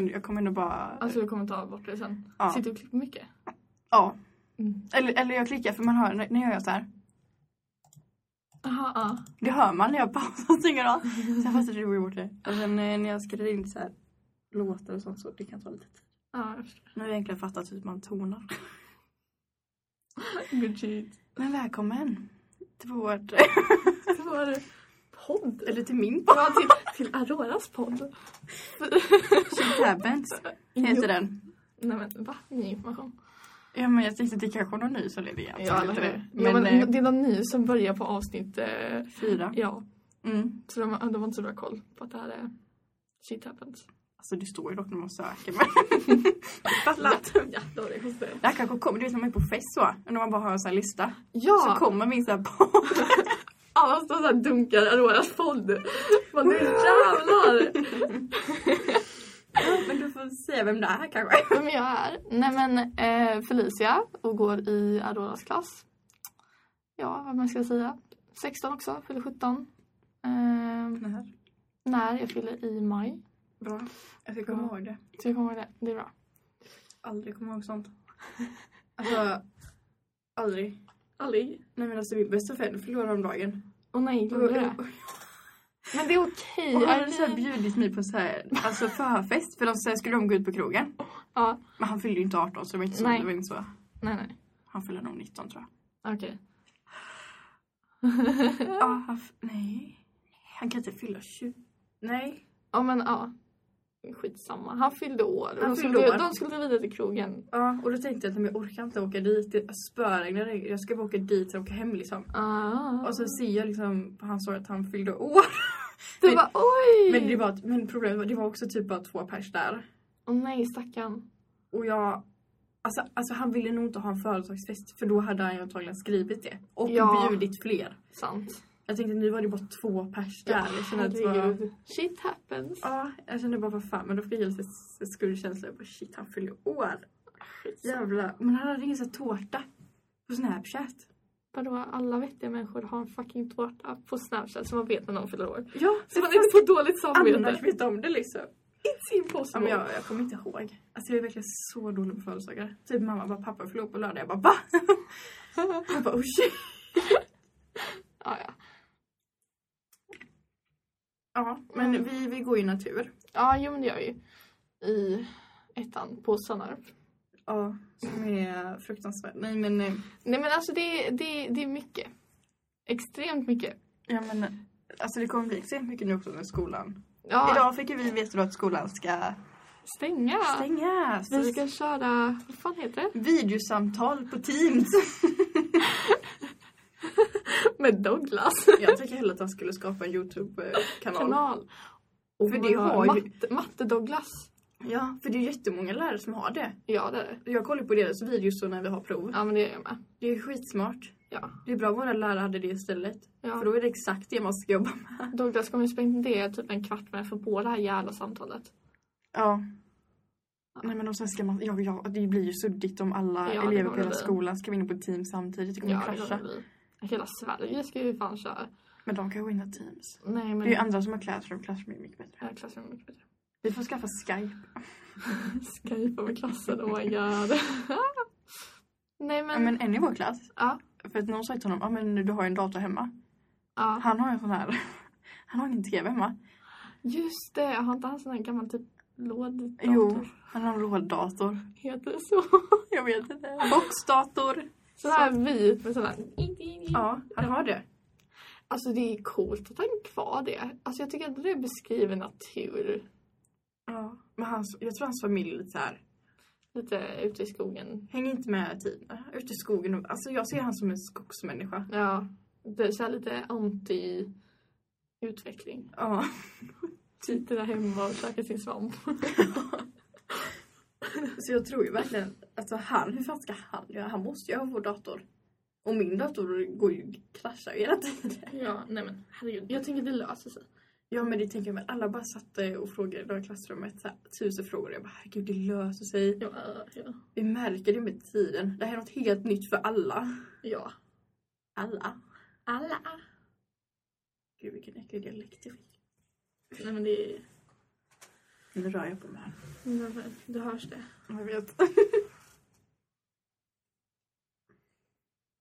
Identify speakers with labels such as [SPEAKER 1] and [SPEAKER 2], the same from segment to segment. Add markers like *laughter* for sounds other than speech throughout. [SPEAKER 1] Men jag kommer nog bara...
[SPEAKER 2] Alltså du kommer ta bort det sen.
[SPEAKER 1] Ja.
[SPEAKER 2] Sitter du och klipper mycket?
[SPEAKER 1] Ja.
[SPEAKER 2] Mm.
[SPEAKER 1] Eller, eller jag klickar för man hör, när när jag gör så här.
[SPEAKER 2] Aha, ja.
[SPEAKER 1] Det hör man när jag *laughs* pausar och stänger av. Sen fast det blir bort det. Och sen eh, när jag skriver in så här låtar och sånt så det kan ta lite tid.
[SPEAKER 2] ja jag förstår.
[SPEAKER 1] Nu har jag egentligen fattat hur man tonar.
[SPEAKER 2] Gudgigt.
[SPEAKER 1] Men välkommen till vårt...
[SPEAKER 2] Vår podd.
[SPEAKER 1] *laughs* eller till min
[SPEAKER 2] Ja, till, till Auroras podd.
[SPEAKER 1] Shit *laughs* happens heter den.
[SPEAKER 2] Nej men va? Ny information.
[SPEAKER 1] Ja men jag tänkte det kanske är någon ny som lever igen.
[SPEAKER 2] Ja,
[SPEAKER 1] Vet
[SPEAKER 2] eller
[SPEAKER 1] du
[SPEAKER 2] hur?
[SPEAKER 1] det?
[SPEAKER 2] Ja,
[SPEAKER 1] Men,
[SPEAKER 2] men
[SPEAKER 1] eh,
[SPEAKER 2] det var ny som börjar på avsnitt eh,
[SPEAKER 1] fyra.
[SPEAKER 2] Ja,
[SPEAKER 1] Mm.
[SPEAKER 2] så de, de har inte så bra koll på att det här är shit happens.
[SPEAKER 1] Alltså det står ju dock när man söker men... *laughs* Fattat.
[SPEAKER 2] Ja, då var det konstigt.
[SPEAKER 1] Det här kanske kommer, du vet när man är på fest så. När man bara har en sån här lista.
[SPEAKER 2] Ja!
[SPEAKER 1] Så kommer min sån här podd.
[SPEAKER 2] Alla står såhär dunkar Auroras podd. Man nu jävlar!
[SPEAKER 1] *laughs* men du får säga vem det är kanske.
[SPEAKER 2] Vem jag är? Nej men eh, Felicia och går i Auroras klass. Ja, vad man ska säga. 16 också, fyller 17. Eh, när jag fyller i maj.
[SPEAKER 1] Bra. Jag ska komma ihåg det.
[SPEAKER 2] Så jag kommer ihåg det, det är bra.
[SPEAKER 1] Aldrig komma ihåg sånt. Alltså, aldrig.
[SPEAKER 2] Aldrig.
[SPEAKER 1] Nej men alltså min bästa vän förlorade häromdagen.
[SPEAKER 2] Åh nej,
[SPEAKER 1] Och, och,
[SPEAKER 2] gjorde det?
[SPEAKER 1] och,
[SPEAKER 2] Men det är okej.
[SPEAKER 1] och han
[SPEAKER 2] Är
[SPEAKER 1] hade *laughs* så här
[SPEAKER 2] det-
[SPEAKER 1] bjudit mig på så här, alltså förfest. För de så här, skulle de gå ut på krogen.
[SPEAKER 2] Ja,
[SPEAKER 1] Men han fyllde ju inte 18 så det var inte så.
[SPEAKER 2] Nej.
[SPEAKER 1] Det var inte så.
[SPEAKER 2] nej nej.
[SPEAKER 1] Han fyllde nog 19 tror jag.
[SPEAKER 2] Okej.
[SPEAKER 1] Ja, han, f- nej. Han kan inte fylla 20. Nej.
[SPEAKER 2] Ja men ja. Skitsamma. Han fyllde år.
[SPEAKER 1] Han
[SPEAKER 2] de,
[SPEAKER 1] fyllde
[SPEAKER 2] skulle,
[SPEAKER 1] år.
[SPEAKER 2] de skulle vidare till krogen.
[SPEAKER 1] Ja, och då tänkte jag att men jag orkar inte åka dit. Det spöregnar. Jag ska bara åka dit och åka hem liksom.
[SPEAKER 2] Ah.
[SPEAKER 1] Och så ser jag liksom på hans sår att han fyllde år. *laughs*
[SPEAKER 2] du
[SPEAKER 1] men-
[SPEAKER 2] bara oj!
[SPEAKER 1] Men, det var, men problemet var det var också typ bara två pers där.
[SPEAKER 2] Åh nej stackarn.
[SPEAKER 1] Och jag... Alltså, alltså han ville nog inte ha en företagsfest för då hade han ju antagligen skrivit det. Och
[SPEAKER 2] Ja.
[SPEAKER 1] bjudit fler.
[SPEAKER 2] Sant.
[SPEAKER 1] Jag tänkte nu var det bara två pers där. jag kände att det var,
[SPEAKER 2] Herregud. Shit happens.
[SPEAKER 1] Ja, jag kände bara vad fan men då fick jag helt en skuldkänsla. Jag bara shit han fyller år.
[SPEAKER 2] Skitsamma.
[SPEAKER 1] Jävlar. Men han hade ingen sån här tårta. På snapchat.
[SPEAKER 2] Vadå alla vettiga människor har en fucking tårta på snapchat så man vet när någon fyller år.
[SPEAKER 1] Ja,
[SPEAKER 2] Så man inte får dåligt
[SPEAKER 1] annars
[SPEAKER 2] samvete.
[SPEAKER 1] vet om det liksom.
[SPEAKER 2] It's
[SPEAKER 1] Ja,
[SPEAKER 2] impossible.
[SPEAKER 1] men jag, jag kommer inte ihåg. Alltså jag är verkligen så dålig på födelsedagar. Typ mamma bara pappa förlorade på lördag. Jag bara va? *laughs* Jag bara oh shit.
[SPEAKER 2] ja, ja.
[SPEAKER 1] Ja men vi, vi går ju natur.
[SPEAKER 2] ja jo men det gör jag ju. I ettan på Sannarp.
[SPEAKER 1] Ja. Som är fruktansvärt. Nej men. eh,
[SPEAKER 2] Nej men alltså det, det, det är mycket. Extremt mycket.
[SPEAKER 1] Ja men. eh, Alltså det kommer bli extremt mycket nu också med skolan.
[SPEAKER 2] Ja,
[SPEAKER 1] Idag fick ju vi veta då att skolan ska
[SPEAKER 2] stänga.
[SPEAKER 1] stängas.
[SPEAKER 2] Vi ska köra, vad fan heter
[SPEAKER 1] *laughs*
[SPEAKER 2] det?
[SPEAKER 1] Videosamtal på Teams.
[SPEAKER 2] Med Douglas.
[SPEAKER 1] *laughs* jag tycker hellre att han skulle skapa en eh, Youtube-kanal.
[SPEAKER 2] Kanal. Och
[SPEAKER 1] För det har ju-
[SPEAKER 2] matte, matte Douglas.
[SPEAKER 1] Ja, för det är jättemånga lärare som har det.
[SPEAKER 2] Ja det är det.
[SPEAKER 1] Jag kollar på deras videos så när vi har prov.
[SPEAKER 2] Ja men det är jag med.
[SPEAKER 1] Det är skitsmart.
[SPEAKER 2] Ja.
[SPEAKER 1] Det är bra våra lärare hade det istället. För
[SPEAKER 2] ja.
[SPEAKER 1] då är det exakt det man ska jobba med.
[SPEAKER 2] Douglas kommer ju spendera typ en kvart med för på det här jävla samtalet.
[SPEAKER 1] Ja. Nej men och sen ska man, ja, ja det blir ju suddigt om alla
[SPEAKER 2] Ja, det
[SPEAKER 1] elever på
[SPEAKER 2] kommer
[SPEAKER 1] hela
[SPEAKER 2] det bli.
[SPEAKER 1] skolan ska vara inne på teams samtidigt. Det kommer
[SPEAKER 2] Ja, det
[SPEAKER 1] krascha.
[SPEAKER 2] kommer vi. Hela Sverige ska ju fan köra.
[SPEAKER 1] Men de kan ju vinna teams.
[SPEAKER 2] Nej
[SPEAKER 1] Det
[SPEAKER 2] men...
[SPEAKER 1] är ju andra som har classroom, classroom är mycket bättre.
[SPEAKER 2] Ja, klassen är mycket bättre.
[SPEAKER 1] Vi får skaffa skype.
[SPEAKER 2] Skypa med klassen, oh my god. *laughs* Nej
[SPEAKER 1] Ja
[SPEAKER 2] men...
[SPEAKER 1] men en i vår klass.
[SPEAKER 2] Ja.
[SPEAKER 1] För att någon sa till honom, ja men du har ju en dator hemma.
[SPEAKER 2] ja.
[SPEAKER 1] Han har en sån här, *laughs* han har ingen tv hemma.
[SPEAKER 2] Just det, har inte han sån här gammal typ låddator?
[SPEAKER 1] Jo, han har en råddator.
[SPEAKER 2] Heter det så? *laughs*
[SPEAKER 1] Jag vet inte. Boxdator.
[SPEAKER 2] Sån här vit med sån här...
[SPEAKER 1] Ja, han har det.
[SPEAKER 2] Alltså det är coolt att han har kvar det. Alltså jag tycker att det beskriver natur.
[SPEAKER 1] Ja. Men hans, jag tror hans familj är lite så här.
[SPEAKER 2] Lite ute i skogen.
[SPEAKER 1] Häng inte med Tina. Ute i skogen. och- Alltså jag ser han som en skogsmänniska.
[SPEAKER 2] Ja. Det är så här lite anti-utveckling.
[SPEAKER 1] Ja.
[SPEAKER 2] Sitter Typ där hemma och käkar sin svamp.
[SPEAKER 1] Så jag tror ju verkligen, alltså han, hur fan ska han göra? Han måste ju ha vår dator. Och min dator går ju, kraschar ju hela tiden.
[SPEAKER 2] Ja, nej men herregud. Jag tänker det löser sig.
[SPEAKER 1] Ja men det tänker jag med. Alla bara satt eh, och frågade i det här klassrummet så här, tusen frågor. Jag bara herregud det löser sig.
[SPEAKER 2] Ja, ja.
[SPEAKER 1] Vi märker det med tiden. Det här är något helt nytt för alla.
[SPEAKER 2] ja.
[SPEAKER 1] Alla.
[SPEAKER 2] Alla.
[SPEAKER 1] Gud vilken äcklig dialekt jag fick.
[SPEAKER 2] Nej men det är...
[SPEAKER 1] Nu rör jag på mig.
[SPEAKER 2] Jag vet, Det hörs det.
[SPEAKER 1] Jag vet.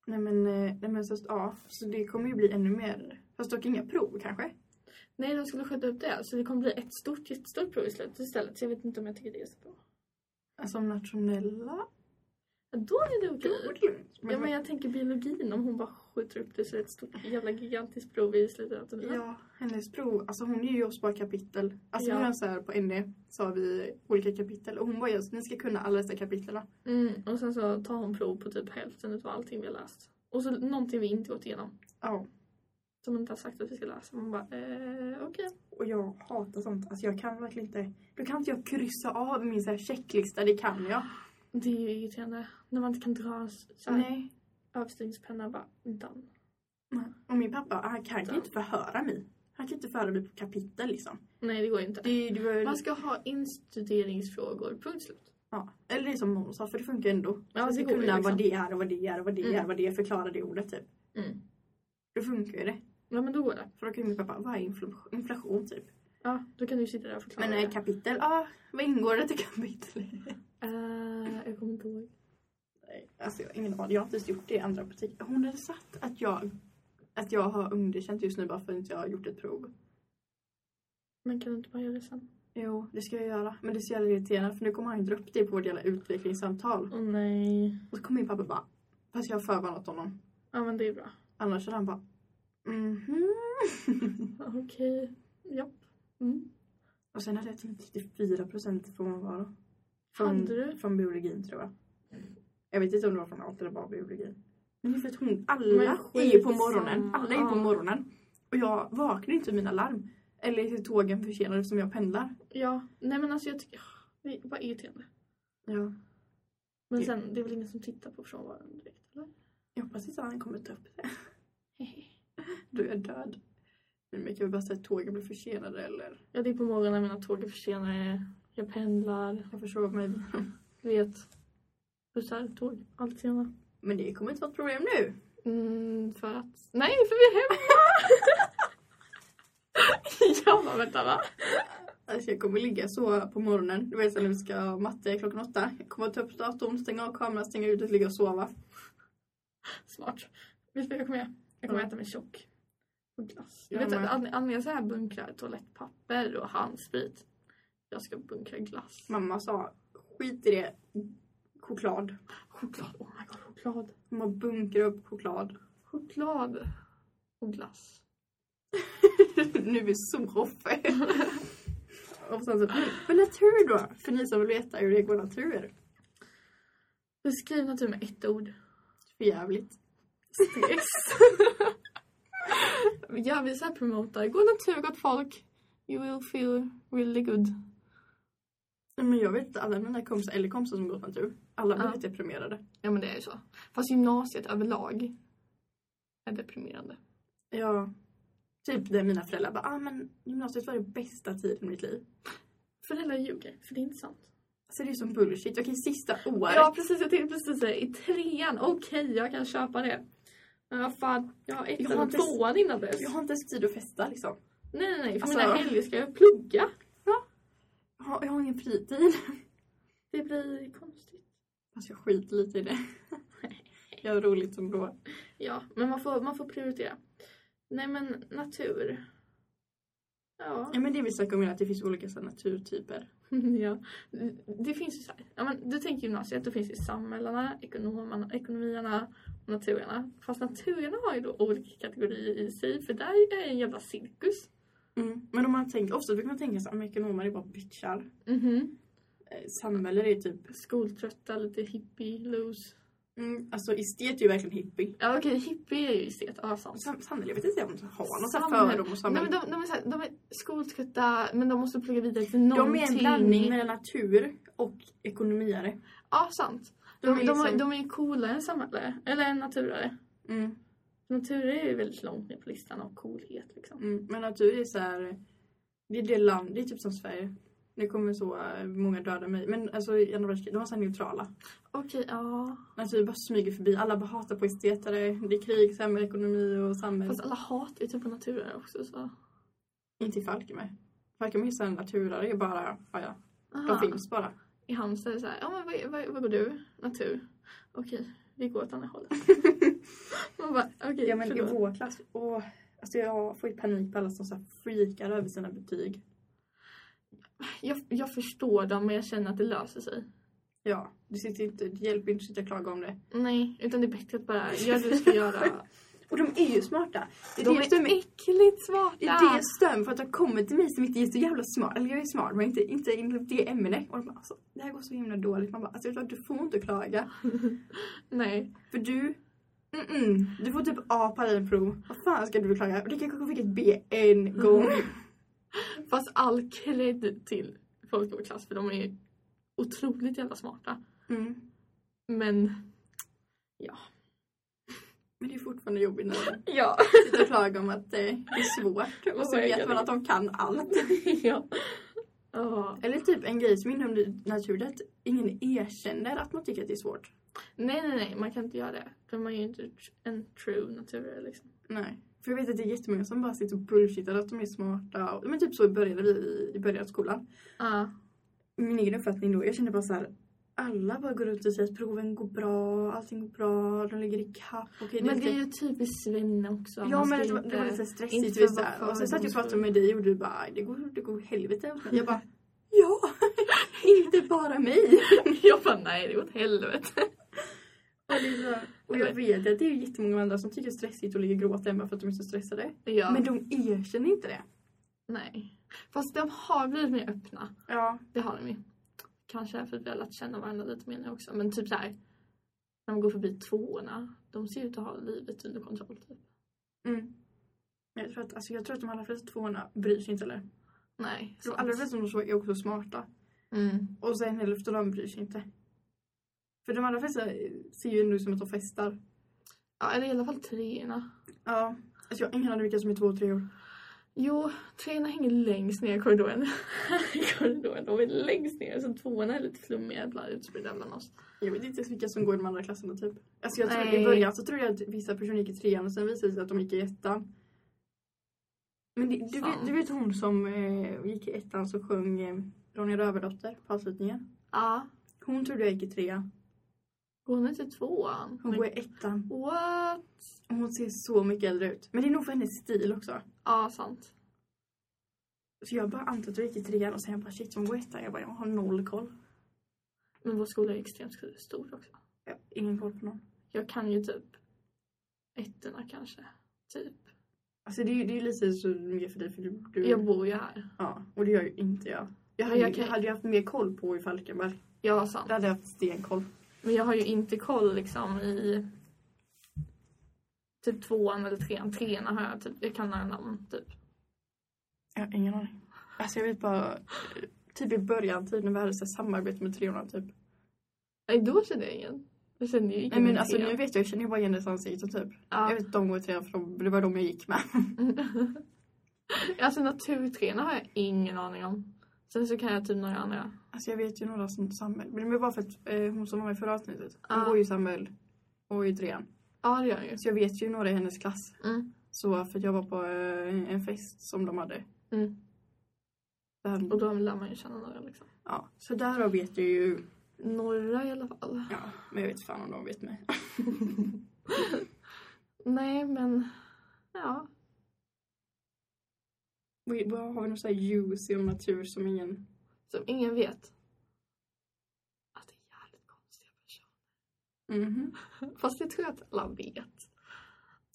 [SPEAKER 1] nej men, eh, nej men så, ja, så det kommer ju bli ännu mer. Fast dock inga prov kanske.
[SPEAKER 2] Nej, de skulle skjuta upp det. Så det kommer bli ett stort, jättestort prov i slutet istället. Så jag vet inte om jag tycker det är så bra.
[SPEAKER 1] Alltså om nationella.
[SPEAKER 2] Ja, Då är det
[SPEAKER 1] Då
[SPEAKER 2] okej.
[SPEAKER 1] är det lugnt.
[SPEAKER 2] Ja, men jag tänker biologin. Om hon bara skjuter upp det så är det ett stort, jävla gigantiskt prov i slutet av terminen.
[SPEAKER 1] Ja, hennes prov, alltså hon ger ju oss bara kapitel. Alltså
[SPEAKER 2] Ja.
[SPEAKER 1] vi har så här på NE så har vi olika kapitel och hon var just, ni ska kunna alla dessa kapitlen.
[SPEAKER 2] Mm, och sen så tar hon prov på typ hälften utav allting vi har läst. Och så någonting vi inte gått igenom.
[SPEAKER 1] Ja.
[SPEAKER 2] Som hon inte har sagt att vi ska läsa. Man bara, eh, okej.
[SPEAKER 1] Och jag hatar sånt, alltså jag kan verkligen inte, då kan inte jag kryssa av min så här checklista, det kan jag.
[SPEAKER 2] Det är ju irriterande. När man inte kan dra en s- så här
[SPEAKER 1] Nej.
[SPEAKER 2] överstrykningspenna bara, done.
[SPEAKER 1] Och min pappa, han kan ju inte förhöra mig. Han kan inte förhöra mig på kapitel liksom.
[SPEAKER 2] Nej, det går ju inte.
[SPEAKER 1] Det, det var ju,
[SPEAKER 2] Man ska ha instuderingsfrågor, punkt slut.
[SPEAKER 1] ja. Eller det som Momo sa, för det funkar ändå.
[SPEAKER 2] Ja,
[SPEAKER 1] Man
[SPEAKER 2] det
[SPEAKER 1] ska
[SPEAKER 2] går ju
[SPEAKER 1] kunna vad
[SPEAKER 2] liksom.
[SPEAKER 1] det är och vad det är och vad det
[SPEAKER 2] Mm.
[SPEAKER 1] är, vad det är, förklara det ordet typ.
[SPEAKER 2] Mm.
[SPEAKER 1] Då funkar ju det.
[SPEAKER 2] Ja, men då går det.
[SPEAKER 1] För då kan ju min pappa, vad är infl- inflation typ?
[SPEAKER 2] Ja, då kan du sitta där och förklara.
[SPEAKER 1] Men eh,
[SPEAKER 2] det.
[SPEAKER 1] kapitel, ja. Ah, vad ingår det till kapitel?
[SPEAKER 2] Eh, jag kommer inte ihåg.
[SPEAKER 1] Nej, alltså jag har ingen aning. Jag har inte ens gjort det i andra betyg. Hon hade satt att jag, att jag har underkänt just nu bara för att inte jag har gjort ett prov.
[SPEAKER 2] Men kan du inte bara göra det sen?
[SPEAKER 1] Jo, det ska jag göra. Men det är så jävla irriterande för nu kommer han ju dra upp det på vårt jävla utvecklingssamtal.
[SPEAKER 2] Åh nej.
[SPEAKER 1] Och så kommer min pappa bara, fast jag har förvarnat honom.
[SPEAKER 2] Ja, men det är bra.
[SPEAKER 1] Annars hade han bara, mhm.
[SPEAKER 2] Okej. Japp. Mm.
[SPEAKER 1] Och sen hade jag typ 34 procent frånvaro.
[SPEAKER 2] Hade
[SPEAKER 1] Från,
[SPEAKER 2] du?
[SPEAKER 1] från biologin tror jag. Jag vet inte om det var från allt eller bara biologin. Men det är för att hon,
[SPEAKER 2] Men
[SPEAKER 1] alla är ju på
[SPEAKER 2] skitsamma.
[SPEAKER 1] morgonen. Alla är ju på
[SPEAKER 2] Ja.
[SPEAKER 1] morgonen. Och jag vaknar ju inte vid mina larm. Eller hur tågen försenade som jag pendlar.
[SPEAKER 2] Ja. Nej, men alltså jag tycker... Det är bara irriterande.
[SPEAKER 1] Ja.
[SPEAKER 2] Men
[SPEAKER 1] Ja.
[SPEAKER 2] sen, det är väl ingen som tittar på frånvaron direkt, eller?
[SPEAKER 1] Jag hoppas inte att han kommer ta upp det. Då är jag död. Men man kan väl bara säga att tågen blir försenade eller?
[SPEAKER 2] Ja, det är på morgonen, mina tåg är försenade. Jag pendlar.
[SPEAKER 1] Jag förstår mig.
[SPEAKER 2] Du vet. Bussar, tåg, allt sena.
[SPEAKER 1] Men det kommer inte vara ett problem nu.
[SPEAKER 2] Mm, för att... Nej, för vi är hemma! *laughs* ja, men vänta va?
[SPEAKER 1] Alltså jag kommer ligga så på morgonen. Du vet så när vi ska ha matte klockan åtta. Jag kommer ta upp datorn, stänga av kameran, stänga ut och ligga och sova.
[SPEAKER 2] Smart. Vet du vad jag kommer göra? Jag kommer
[SPEAKER 1] Mm.
[SPEAKER 2] äta mig tjock. Och glass.
[SPEAKER 1] Jag
[SPEAKER 2] vet
[SPEAKER 1] med.
[SPEAKER 2] att An- Agnesa här bunkrar toalettpapper och handsprit. Jag ska bunkra glass.
[SPEAKER 1] Mamma sa, skit i det. Choklad.
[SPEAKER 2] Choklad. Oh my god, choklad.
[SPEAKER 1] Man bunkrar upp choklad. *laughs*
[SPEAKER 2] Choklad. Och glass.
[SPEAKER 1] nu är vi så hoffa. *laughs* Och sen så, men natur då? För ni som vill veta hur det går natur.
[SPEAKER 2] Beskriv natur med ett ord.
[SPEAKER 1] För jävligt.
[SPEAKER 2] Yes. *laughs* ja, vi så här promotar. God natur, gott folk. You will feel really good.
[SPEAKER 1] Men jag vet inte, alla mina kompisar, eller kompisar som går natur, alla blir
[SPEAKER 2] Ja.
[SPEAKER 1] helt deprimerade.
[SPEAKER 2] Ja, men det är ju så. Fast gymnasiet överlag är deprimerande.
[SPEAKER 1] Ja. Typ där mina föräldrar bara, ah men gymnasiet var den bästa tiden i mitt liv.
[SPEAKER 2] Föräldrar ljuger, för det är inte sant.
[SPEAKER 1] Alltså det är som bullshit. Jag kan ju sista året.
[SPEAKER 2] Ja precis, jag tänkte precis säga i trean, okej jag kan köpa det. Men vad fan, jag har
[SPEAKER 1] Jag har
[SPEAKER 2] ettan och
[SPEAKER 1] inte-
[SPEAKER 2] tvåan innan dess.
[SPEAKER 1] Jag har inte ens tid att festa liksom.
[SPEAKER 2] Nej nej nej, för
[SPEAKER 1] Alltså-
[SPEAKER 2] mina helger ska jag plugga.
[SPEAKER 1] Jag har, jag har ingen fritid.
[SPEAKER 2] Det blir konstigt.
[SPEAKER 1] Alltså jag skiter lite i det.
[SPEAKER 2] *laughs*
[SPEAKER 1] Jag har roligt som då.
[SPEAKER 2] Ja, men man får, man får prioritera. Nej men natur. Ja.
[SPEAKER 1] Ja men det vi snackade om är att det finns olika så här naturtyper.
[SPEAKER 2] *laughs* ja. Det finns ju så här. Ja, men du tänker gymnasiet, då finns ju samhällena, ekonomerna, ekonomierna och naturerna. Fast naturerna har ju då olika kategorier i sig, för där är ju en jävla cirkus.
[SPEAKER 1] Mm. Men om man tänker, ofta brukar man tänka så här, "Ah, "Men ekonomer är bara bitchar.
[SPEAKER 2] Mhm.
[SPEAKER 1] Eh, Samhälle är typ,
[SPEAKER 2] skoltrötta, lite hippie, loose.
[SPEAKER 1] mm, alltså estet är ju verkligen hippie.
[SPEAKER 2] Ja okej, hippie är ju estet. Ja, sant.
[SPEAKER 1] Sam, samhälle, jag vet inte om de har någon sån här
[SPEAKER 2] Samhälle.
[SPEAKER 1] fördom om
[SPEAKER 2] Nej,
[SPEAKER 1] samhälle.
[SPEAKER 2] men de, de, är så här, de är skoltrötta men de måste plugga vidare till
[SPEAKER 1] de,
[SPEAKER 2] någonting.
[SPEAKER 1] är en blandning mellan natur och ekonomiare.
[SPEAKER 2] Ja, sant.
[SPEAKER 1] De
[SPEAKER 2] De, de,
[SPEAKER 1] är liksom-
[SPEAKER 2] har- de är ju coolare än samhälle, eller än naturare.
[SPEAKER 1] Mm,
[SPEAKER 2] Naturare är ju väldigt långt ner på listan av coolhet liksom.
[SPEAKER 1] mm. Men natur är så här, det är det land, det är typ som Sverige. Nu kommer så eh, många döda mig. Men alltså i andra världskriget, de var så här neutrala.
[SPEAKER 2] Okej, ja.
[SPEAKER 1] Natur bara smyger förbi, alla bara hatar på estetare. Det är krig, sämre ekonomi och samhälle.
[SPEAKER 2] Fast alla hatar ju typ på naturare också så.
[SPEAKER 1] Inte i Falkenberg. Varken missa eller naturare, det är bara, ja, ja. de finns bara.
[SPEAKER 2] I Halmstad är det så här, ja men vad, vad, vad går du? Natur. Okej, vi går åt andra
[SPEAKER 1] *laughs*
[SPEAKER 2] hållet. Man bara, okej
[SPEAKER 1] Ja men i
[SPEAKER 2] förlåt.
[SPEAKER 1] vår klass, åh, alltså jag får ju panik på alla som så här freakar över sina betyg.
[SPEAKER 2] jag, jag förstår dem men jag känner att det löser sig.
[SPEAKER 1] Ja, det, sitter inte, det hjälper inte att sitta och klaga om det.
[SPEAKER 2] Nej, utan det är bättre att bara göra det du ska göra.
[SPEAKER 1] Och de är ju smarta. *laughs* Det är
[SPEAKER 2] De
[SPEAKER 1] det
[SPEAKER 2] är
[SPEAKER 1] som är
[SPEAKER 2] äckligt
[SPEAKER 1] Det är
[SPEAKER 2] smarta!
[SPEAKER 1] det stön för att de kommer till mig som inte är så jävla smart. Eller jag är smart men inte, inte inom det ämnet. Och de bara alltså, det här går så himla dåligt. Man bara alltså jag tror att du får inte klaga.
[SPEAKER 2] Nej.
[SPEAKER 1] För du, mm du får typ A på alla prov. Vad fan ska du klaga? Och det kan kanske fick ett B en gång.
[SPEAKER 2] Fast all cred till folk i vår klass för de är otroligt jävla smarta.
[SPEAKER 1] Mm.
[SPEAKER 2] Men
[SPEAKER 1] Men det är fortfarande jobbigt när de
[SPEAKER 2] ja.
[SPEAKER 1] sitter och klagar om att eh, det är svårt. Och så
[SPEAKER 2] Oj,
[SPEAKER 1] vet
[SPEAKER 2] jag
[SPEAKER 1] man
[SPEAKER 2] vet.
[SPEAKER 1] att de kan allt.
[SPEAKER 2] *laughs* ja. Ja.
[SPEAKER 1] Eller typ en grej som inom naturen, att ingen erkänner att man tycker att det är svårt.
[SPEAKER 2] Nej, nej, nej, man kan inte göra det. För man är ju inte en true naturare liksom.
[SPEAKER 1] Nej. För jag vet att det är jättemånga som bara sitter och bullshittar att de är smarta. Och, men typ så började vi i början av skolan.
[SPEAKER 2] Ja.
[SPEAKER 1] Min egen uppfattning då, jag kände bara så här. Alla bara går runt och säger att proven går bra, allting går bra, de ligger i kapp. okej,
[SPEAKER 2] Men det
[SPEAKER 1] lite-
[SPEAKER 2] är ju typiskt svenne också.
[SPEAKER 1] Ja
[SPEAKER 2] Man
[SPEAKER 1] men
[SPEAKER 2] ska
[SPEAKER 1] det var, det var
[SPEAKER 2] inte- *laughs*
[SPEAKER 1] lite stressigt.
[SPEAKER 2] inte
[SPEAKER 1] visst
[SPEAKER 2] vara
[SPEAKER 1] där. Och sen satt jag och
[SPEAKER 2] fördomsfull.
[SPEAKER 1] pratade med dig och du bara, det går, det går helvete. Jag bara, ja! *laughs* inte bara
[SPEAKER 2] *laughs*
[SPEAKER 1] mig!
[SPEAKER 2] Jag bara, nej, det är åt helvete.
[SPEAKER 1] Och, det är så, och jag vet att det är ju jättemånga andra som tycker det är stressigt och ligger och gråter hemma för att de är så stressade.
[SPEAKER 2] Ja.
[SPEAKER 1] Men de erkänner inte det.
[SPEAKER 2] Nej. Fast de har blivit mer öppna.
[SPEAKER 1] Ja.
[SPEAKER 2] Det har de ju. Kanske för att vi har lärt känna varandra lite mer nu också. Men typ såhär. När man går förbi tvåorna. De ser ut att ha livet under kontroll. Typ.
[SPEAKER 1] Mm. Jag tror, att, alltså jag tror att de allra flesta tvåorna bryr sig inte heller.
[SPEAKER 2] Nej.
[SPEAKER 1] De
[SPEAKER 2] sant.
[SPEAKER 1] allra flesta som så är också smarta.
[SPEAKER 2] Mm.
[SPEAKER 1] Och sen hälften av dem bryr sig inte. För de allra flesta ser ju ändå ut som att de festar.
[SPEAKER 2] Ja, eller i alla fall treorna.
[SPEAKER 1] Ja. Alltså jag har ingen aning vilka som är två och treor.
[SPEAKER 2] Jo, treorna hänger längst ner i korridoren. *laughs* I korridoren. De är längst ner. Så tvåorna är lite flummiga, jävla utspridda bland oss.
[SPEAKER 1] Jag vet inte ens vilka som går i de andra klasserna typ. Alltså jag tror,
[SPEAKER 2] Nej.
[SPEAKER 1] i början så trodde jag att vissa personer gick i trean och sen visade det sig att de gick i ettan. Men det, du, vet,
[SPEAKER 2] Sant.
[SPEAKER 1] du vet hon som eh, gick i ettan som sjöng eh, Ronja Rövardotter på avslutningen?
[SPEAKER 2] Ja.
[SPEAKER 1] Hon trodde jag gick i trean.
[SPEAKER 2] Går hon inte tvåan?
[SPEAKER 1] Hon går i ettan.
[SPEAKER 2] What?
[SPEAKER 1] Och hon ser så mycket äldre ut. Men det är nog för hennes stil också.
[SPEAKER 2] Ja, sant.
[SPEAKER 1] Så jag bara antog att du gick i trean och sen jag bara shit hon går i ettan. Jag bara jag har noll koll.
[SPEAKER 2] Men vår skola är extremt stor också.
[SPEAKER 1] Jag har ingen koll på någon.
[SPEAKER 2] Jag kan ju typ ettorna kanske. Typ.
[SPEAKER 1] Alltså det är ju det är ju lite så mycket för dig för du, du
[SPEAKER 2] Jag bor ju här.
[SPEAKER 1] Ja, och det gör ju inte jag. Jag
[SPEAKER 2] Ja,
[SPEAKER 1] hade,
[SPEAKER 2] jag
[SPEAKER 1] ju-
[SPEAKER 2] kan-
[SPEAKER 1] jag hade ju haft mer koll på i Falkenberg.
[SPEAKER 2] Ja, sant.
[SPEAKER 1] Där hade jag haft stenkoll.
[SPEAKER 2] Men jag har ju inte koll liksom i typ tvåan eller trean. Trean har jag typ, jag kan några namn typ.
[SPEAKER 1] Jag har ingen aning. Alltså jag vet bara, typ i början, typ när vi hade så här samarbete med treorna typ.
[SPEAKER 2] Nej, då kände jag ingen. Jag kände ju ingen
[SPEAKER 1] Nej men
[SPEAKER 2] i
[SPEAKER 1] alltså
[SPEAKER 2] trean.
[SPEAKER 1] nu vet jag, jag känner ju bara igen deras ansikten typ. Jag
[SPEAKER 2] Ja.
[SPEAKER 1] vet att de går i trean för de, det var de jag gick med.
[SPEAKER 2] *laughs* alltså naturtreorna har jag ingen aning om. Sen så kan jag typ några andra.
[SPEAKER 1] Alltså jag vet ju några som Samuel, men det var bara för att eh, hon som var med i förra avsnittet, hon
[SPEAKER 2] Ja.
[SPEAKER 1] går ju i Samuel och i trean.
[SPEAKER 2] Ja, det gör jag ju.
[SPEAKER 1] Så jag vet ju några i hennes klass.
[SPEAKER 2] Mm.
[SPEAKER 1] Så för att jag var på eh, en fest som de hade.
[SPEAKER 2] Mm.
[SPEAKER 1] Där,
[SPEAKER 2] Och då lär man ju känna några liksom.
[SPEAKER 1] ja, så därav vet jag ju
[SPEAKER 2] Några i alla fall.
[SPEAKER 1] Ja, men jag vet fan om de vet mig.
[SPEAKER 2] Nej, men ja.
[SPEAKER 1] Vi- vad Har vi någon sån här ljus om natur som ingen...
[SPEAKER 2] Som ingen vet. Att det är jävligt konstiga personer.
[SPEAKER 1] Mhm.
[SPEAKER 2] Fast det tror jag att alla vet.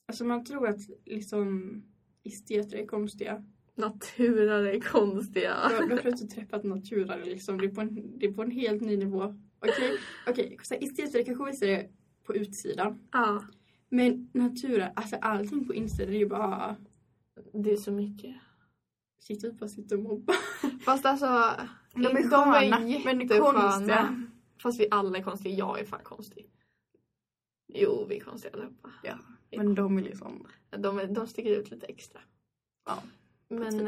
[SPEAKER 1] Alltså man tror att liksom esteter är konstiga.
[SPEAKER 2] Naturare är konstiga.
[SPEAKER 1] Jag jag har plötsligt träffat naturare liksom. Det är på en, det är på en helt ny nivå. Okej, okej. så här, Esteter kanske visar det på utsidan.
[SPEAKER 2] Ja,
[SPEAKER 1] Men naturare, alltså allting på insidan är ju bara...
[SPEAKER 2] det är så mycket.
[SPEAKER 1] Shit, vi bara sitter och mobbar.
[SPEAKER 2] Fast alltså,
[SPEAKER 1] De är
[SPEAKER 2] de
[SPEAKER 1] sköna,
[SPEAKER 2] är
[SPEAKER 1] men
[SPEAKER 2] jättesköna.
[SPEAKER 1] konstiga.
[SPEAKER 2] Fast vi alla är konstiga. Jag är fan konstig. Jo, vi är konstiga allihopa.
[SPEAKER 1] Ja, men de är liksom...
[SPEAKER 2] De, är- de sticker ut lite extra.
[SPEAKER 1] Ja, ett
[SPEAKER 2] Men,
[SPEAKER 1] fint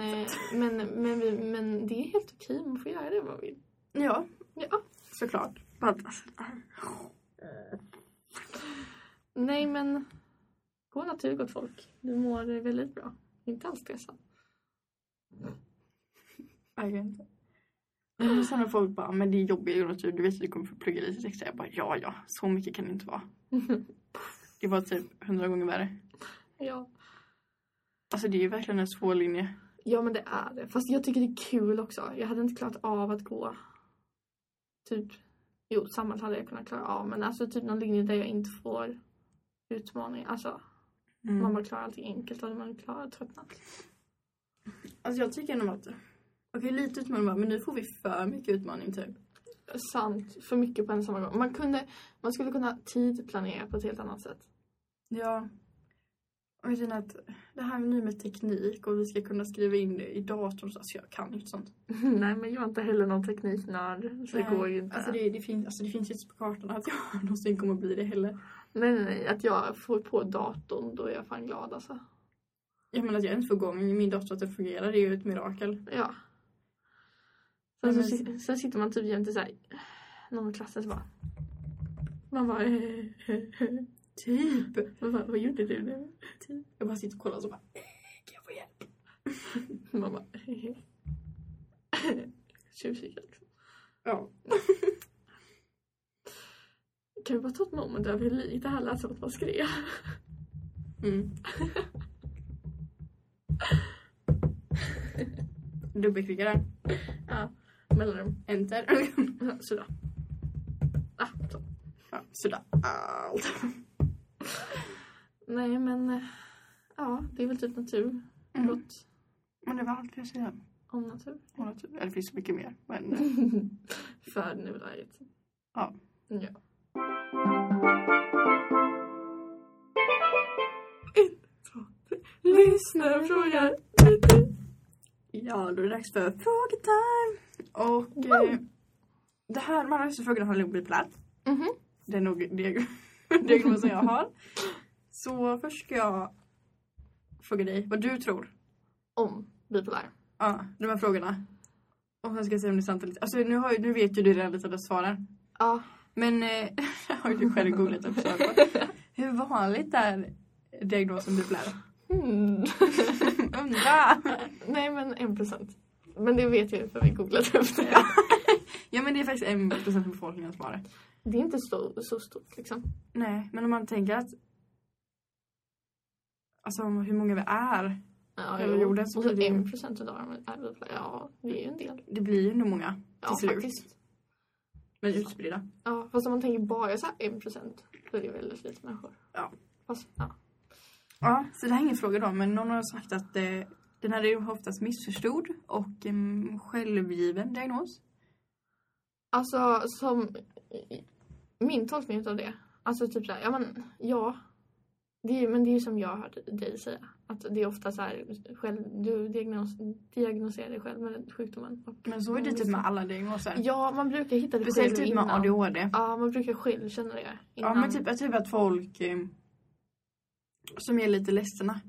[SPEAKER 2] eh, men, *laughs* men, vi, men det är helt okej, man får göra det man vill.
[SPEAKER 1] Ja,
[SPEAKER 2] Ja.
[SPEAKER 1] såklart. Bara- alltså,
[SPEAKER 2] Nej men, gå natur gott folk. Du mår väldigt bra. Inte alls stressad.
[SPEAKER 3] Jag vet inte.
[SPEAKER 1] Och sen när folk bara, men det är jobbiga jordnatur, du vet att du kommer få plugga lite extra. Jag bara, ja ja, så mycket kan det inte *laughs* vara. Det var typ hundra gånger värre.
[SPEAKER 2] Ja.
[SPEAKER 1] Alltså det är ju verkligen en svår linje.
[SPEAKER 2] ja, men det är det. Fast jag tycker det är kul också. Jag hade inte klarat av att gå typ, jo samma hade jag kunnat klara av men alltså typ någon linje där jag inte får utmaning. Alltså
[SPEAKER 1] Mm.
[SPEAKER 2] man bara klarar allting enkelt hade man klarat tröttnat.
[SPEAKER 1] Alltså jag tycker ändå att, okej lite utmaning bara, men nu får vi för mycket utmaning typ.
[SPEAKER 2] Sant, för mycket på en samma gång. Man, kunde, man skulle kunna tidplanera på ett helt annat sätt.
[SPEAKER 1] Ja. Och jag känner att det här nu med teknik och vi ska kunna skriva in det i datorn. så- Alltså jag kan ju inte sånt.
[SPEAKER 2] *laughs* Nej men jag är inte heller någon tekniknörd så det
[SPEAKER 1] Nej,
[SPEAKER 2] går ju inte.
[SPEAKER 1] Alltså det, det, finns, alltså det finns ju inte på kartan att jag *laughs* någonsin kommer bli det heller.
[SPEAKER 2] Nej, nej, nej. Att jag får på datorn, då är jag fan glad alltså.
[SPEAKER 1] Jag menar att jag inte får igång min dator att det fungerar, det är ju ett mirakel.
[SPEAKER 2] Ja.
[SPEAKER 1] Nej,
[SPEAKER 2] Sen, så,
[SPEAKER 1] men-
[SPEAKER 2] si- sen sitter man typ jämte såhär, någon i klassen så bara. Man bara, *laughs*
[SPEAKER 1] Typ!
[SPEAKER 2] man bara vad gjorde du nu?
[SPEAKER 1] Jag bara sitter och kollar och så bara, "Eh, kan jag få hjälp?
[SPEAKER 2] Man bara, *laughs* tjuvkika liksom.
[SPEAKER 1] Ja.
[SPEAKER 2] Kan vi bara ta ett moment över hur lite det här lät som att man skrev?
[SPEAKER 1] Mm. *laughs* Dubbelklicka där,
[SPEAKER 2] Mellanrum,
[SPEAKER 1] enter. *laughs*
[SPEAKER 2] *laughs* sådär. Ah, så.
[SPEAKER 1] ja, sådär. Allt.
[SPEAKER 2] Nej men, eh, ja det är väl typ natur.
[SPEAKER 1] Mm.
[SPEAKER 2] Brott
[SPEAKER 1] Men det var allt jag säga.
[SPEAKER 2] om natur.
[SPEAKER 1] om natur. typ- Eller det finns så mycket mer. Men eh,
[SPEAKER 2] *laughs* För nuläget. Mm,
[SPEAKER 1] Ja.
[SPEAKER 2] Ja. Lyssnarfråga.
[SPEAKER 1] Ja, då är det dags för frågetime! Och eh, det här, de här frågorna har nog blivit platt.
[SPEAKER 2] Mhm.
[SPEAKER 1] Det är nog diag- *laughs* diagnosen jag har. Så först ska jag fråga dig vad du tror.
[SPEAKER 2] Om bipolär.
[SPEAKER 1] Ja, de här frågorna. Och sen ska jag se om det är sant eller inte. Alltså nu, har, ju- nu vet ju du redan lite av svaren.
[SPEAKER 2] Ja.
[SPEAKER 1] Men eh, *laughs* jag har ju du själv googlat och försökt på. Hur vanligt är diagnosen bipolär?
[SPEAKER 2] Mm.
[SPEAKER 1] Undra!
[SPEAKER 2] *laughs* Nej men en procent. Men det vet jag ju för vi googlat upp det.
[SPEAKER 1] Ja men det är faktiskt en procent av befolkningen som har det.
[SPEAKER 2] Det är inte så, så stort liksom.
[SPEAKER 1] Nej, men om man tänker att Alltså om hur många vi är.
[SPEAKER 2] Ja,
[SPEAKER 1] Över
[SPEAKER 2] jo.
[SPEAKER 1] jorden så
[SPEAKER 2] Och så
[SPEAKER 1] blir det ju-
[SPEAKER 2] en procent utav dem är bipolära. Ja, det är ju en del.
[SPEAKER 1] Det blir ju ändå många.
[SPEAKER 2] Ja,
[SPEAKER 1] slut.
[SPEAKER 2] faktiskt.
[SPEAKER 1] Men utspridda.
[SPEAKER 2] Ja, fast om man tänker bara så här en procent då är det väldigt lite människor.
[SPEAKER 1] Ja.
[SPEAKER 2] Fast, ja.
[SPEAKER 1] Ja, så det här är ingen fråga då. Men någon har sagt att eh, den här är ju oftast missförstådd och en självgiven diagnos.
[SPEAKER 2] Alltså som min tolkning utav det. Alltså typ såhär, ja men ja. Det är, men det är ju som jag har hört dig säga. Att det är ofta så här, själv, du diagnos, diagnostiserar dig själv med sjukdomen. Och,
[SPEAKER 1] Men så är det typ med alla diagnoser.
[SPEAKER 2] ja, man brukar hitta det
[SPEAKER 1] Speciellt
[SPEAKER 2] själv
[SPEAKER 1] typ med
[SPEAKER 2] innan.
[SPEAKER 1] ADHD.
[SPEAKER 2] Ja, man brukar själv känna det
[SPEAKER 1] Ja
[SPEAKER 2] innan.
[SPEAKER 1] men typ, typ att folk eh, som är lite ledsna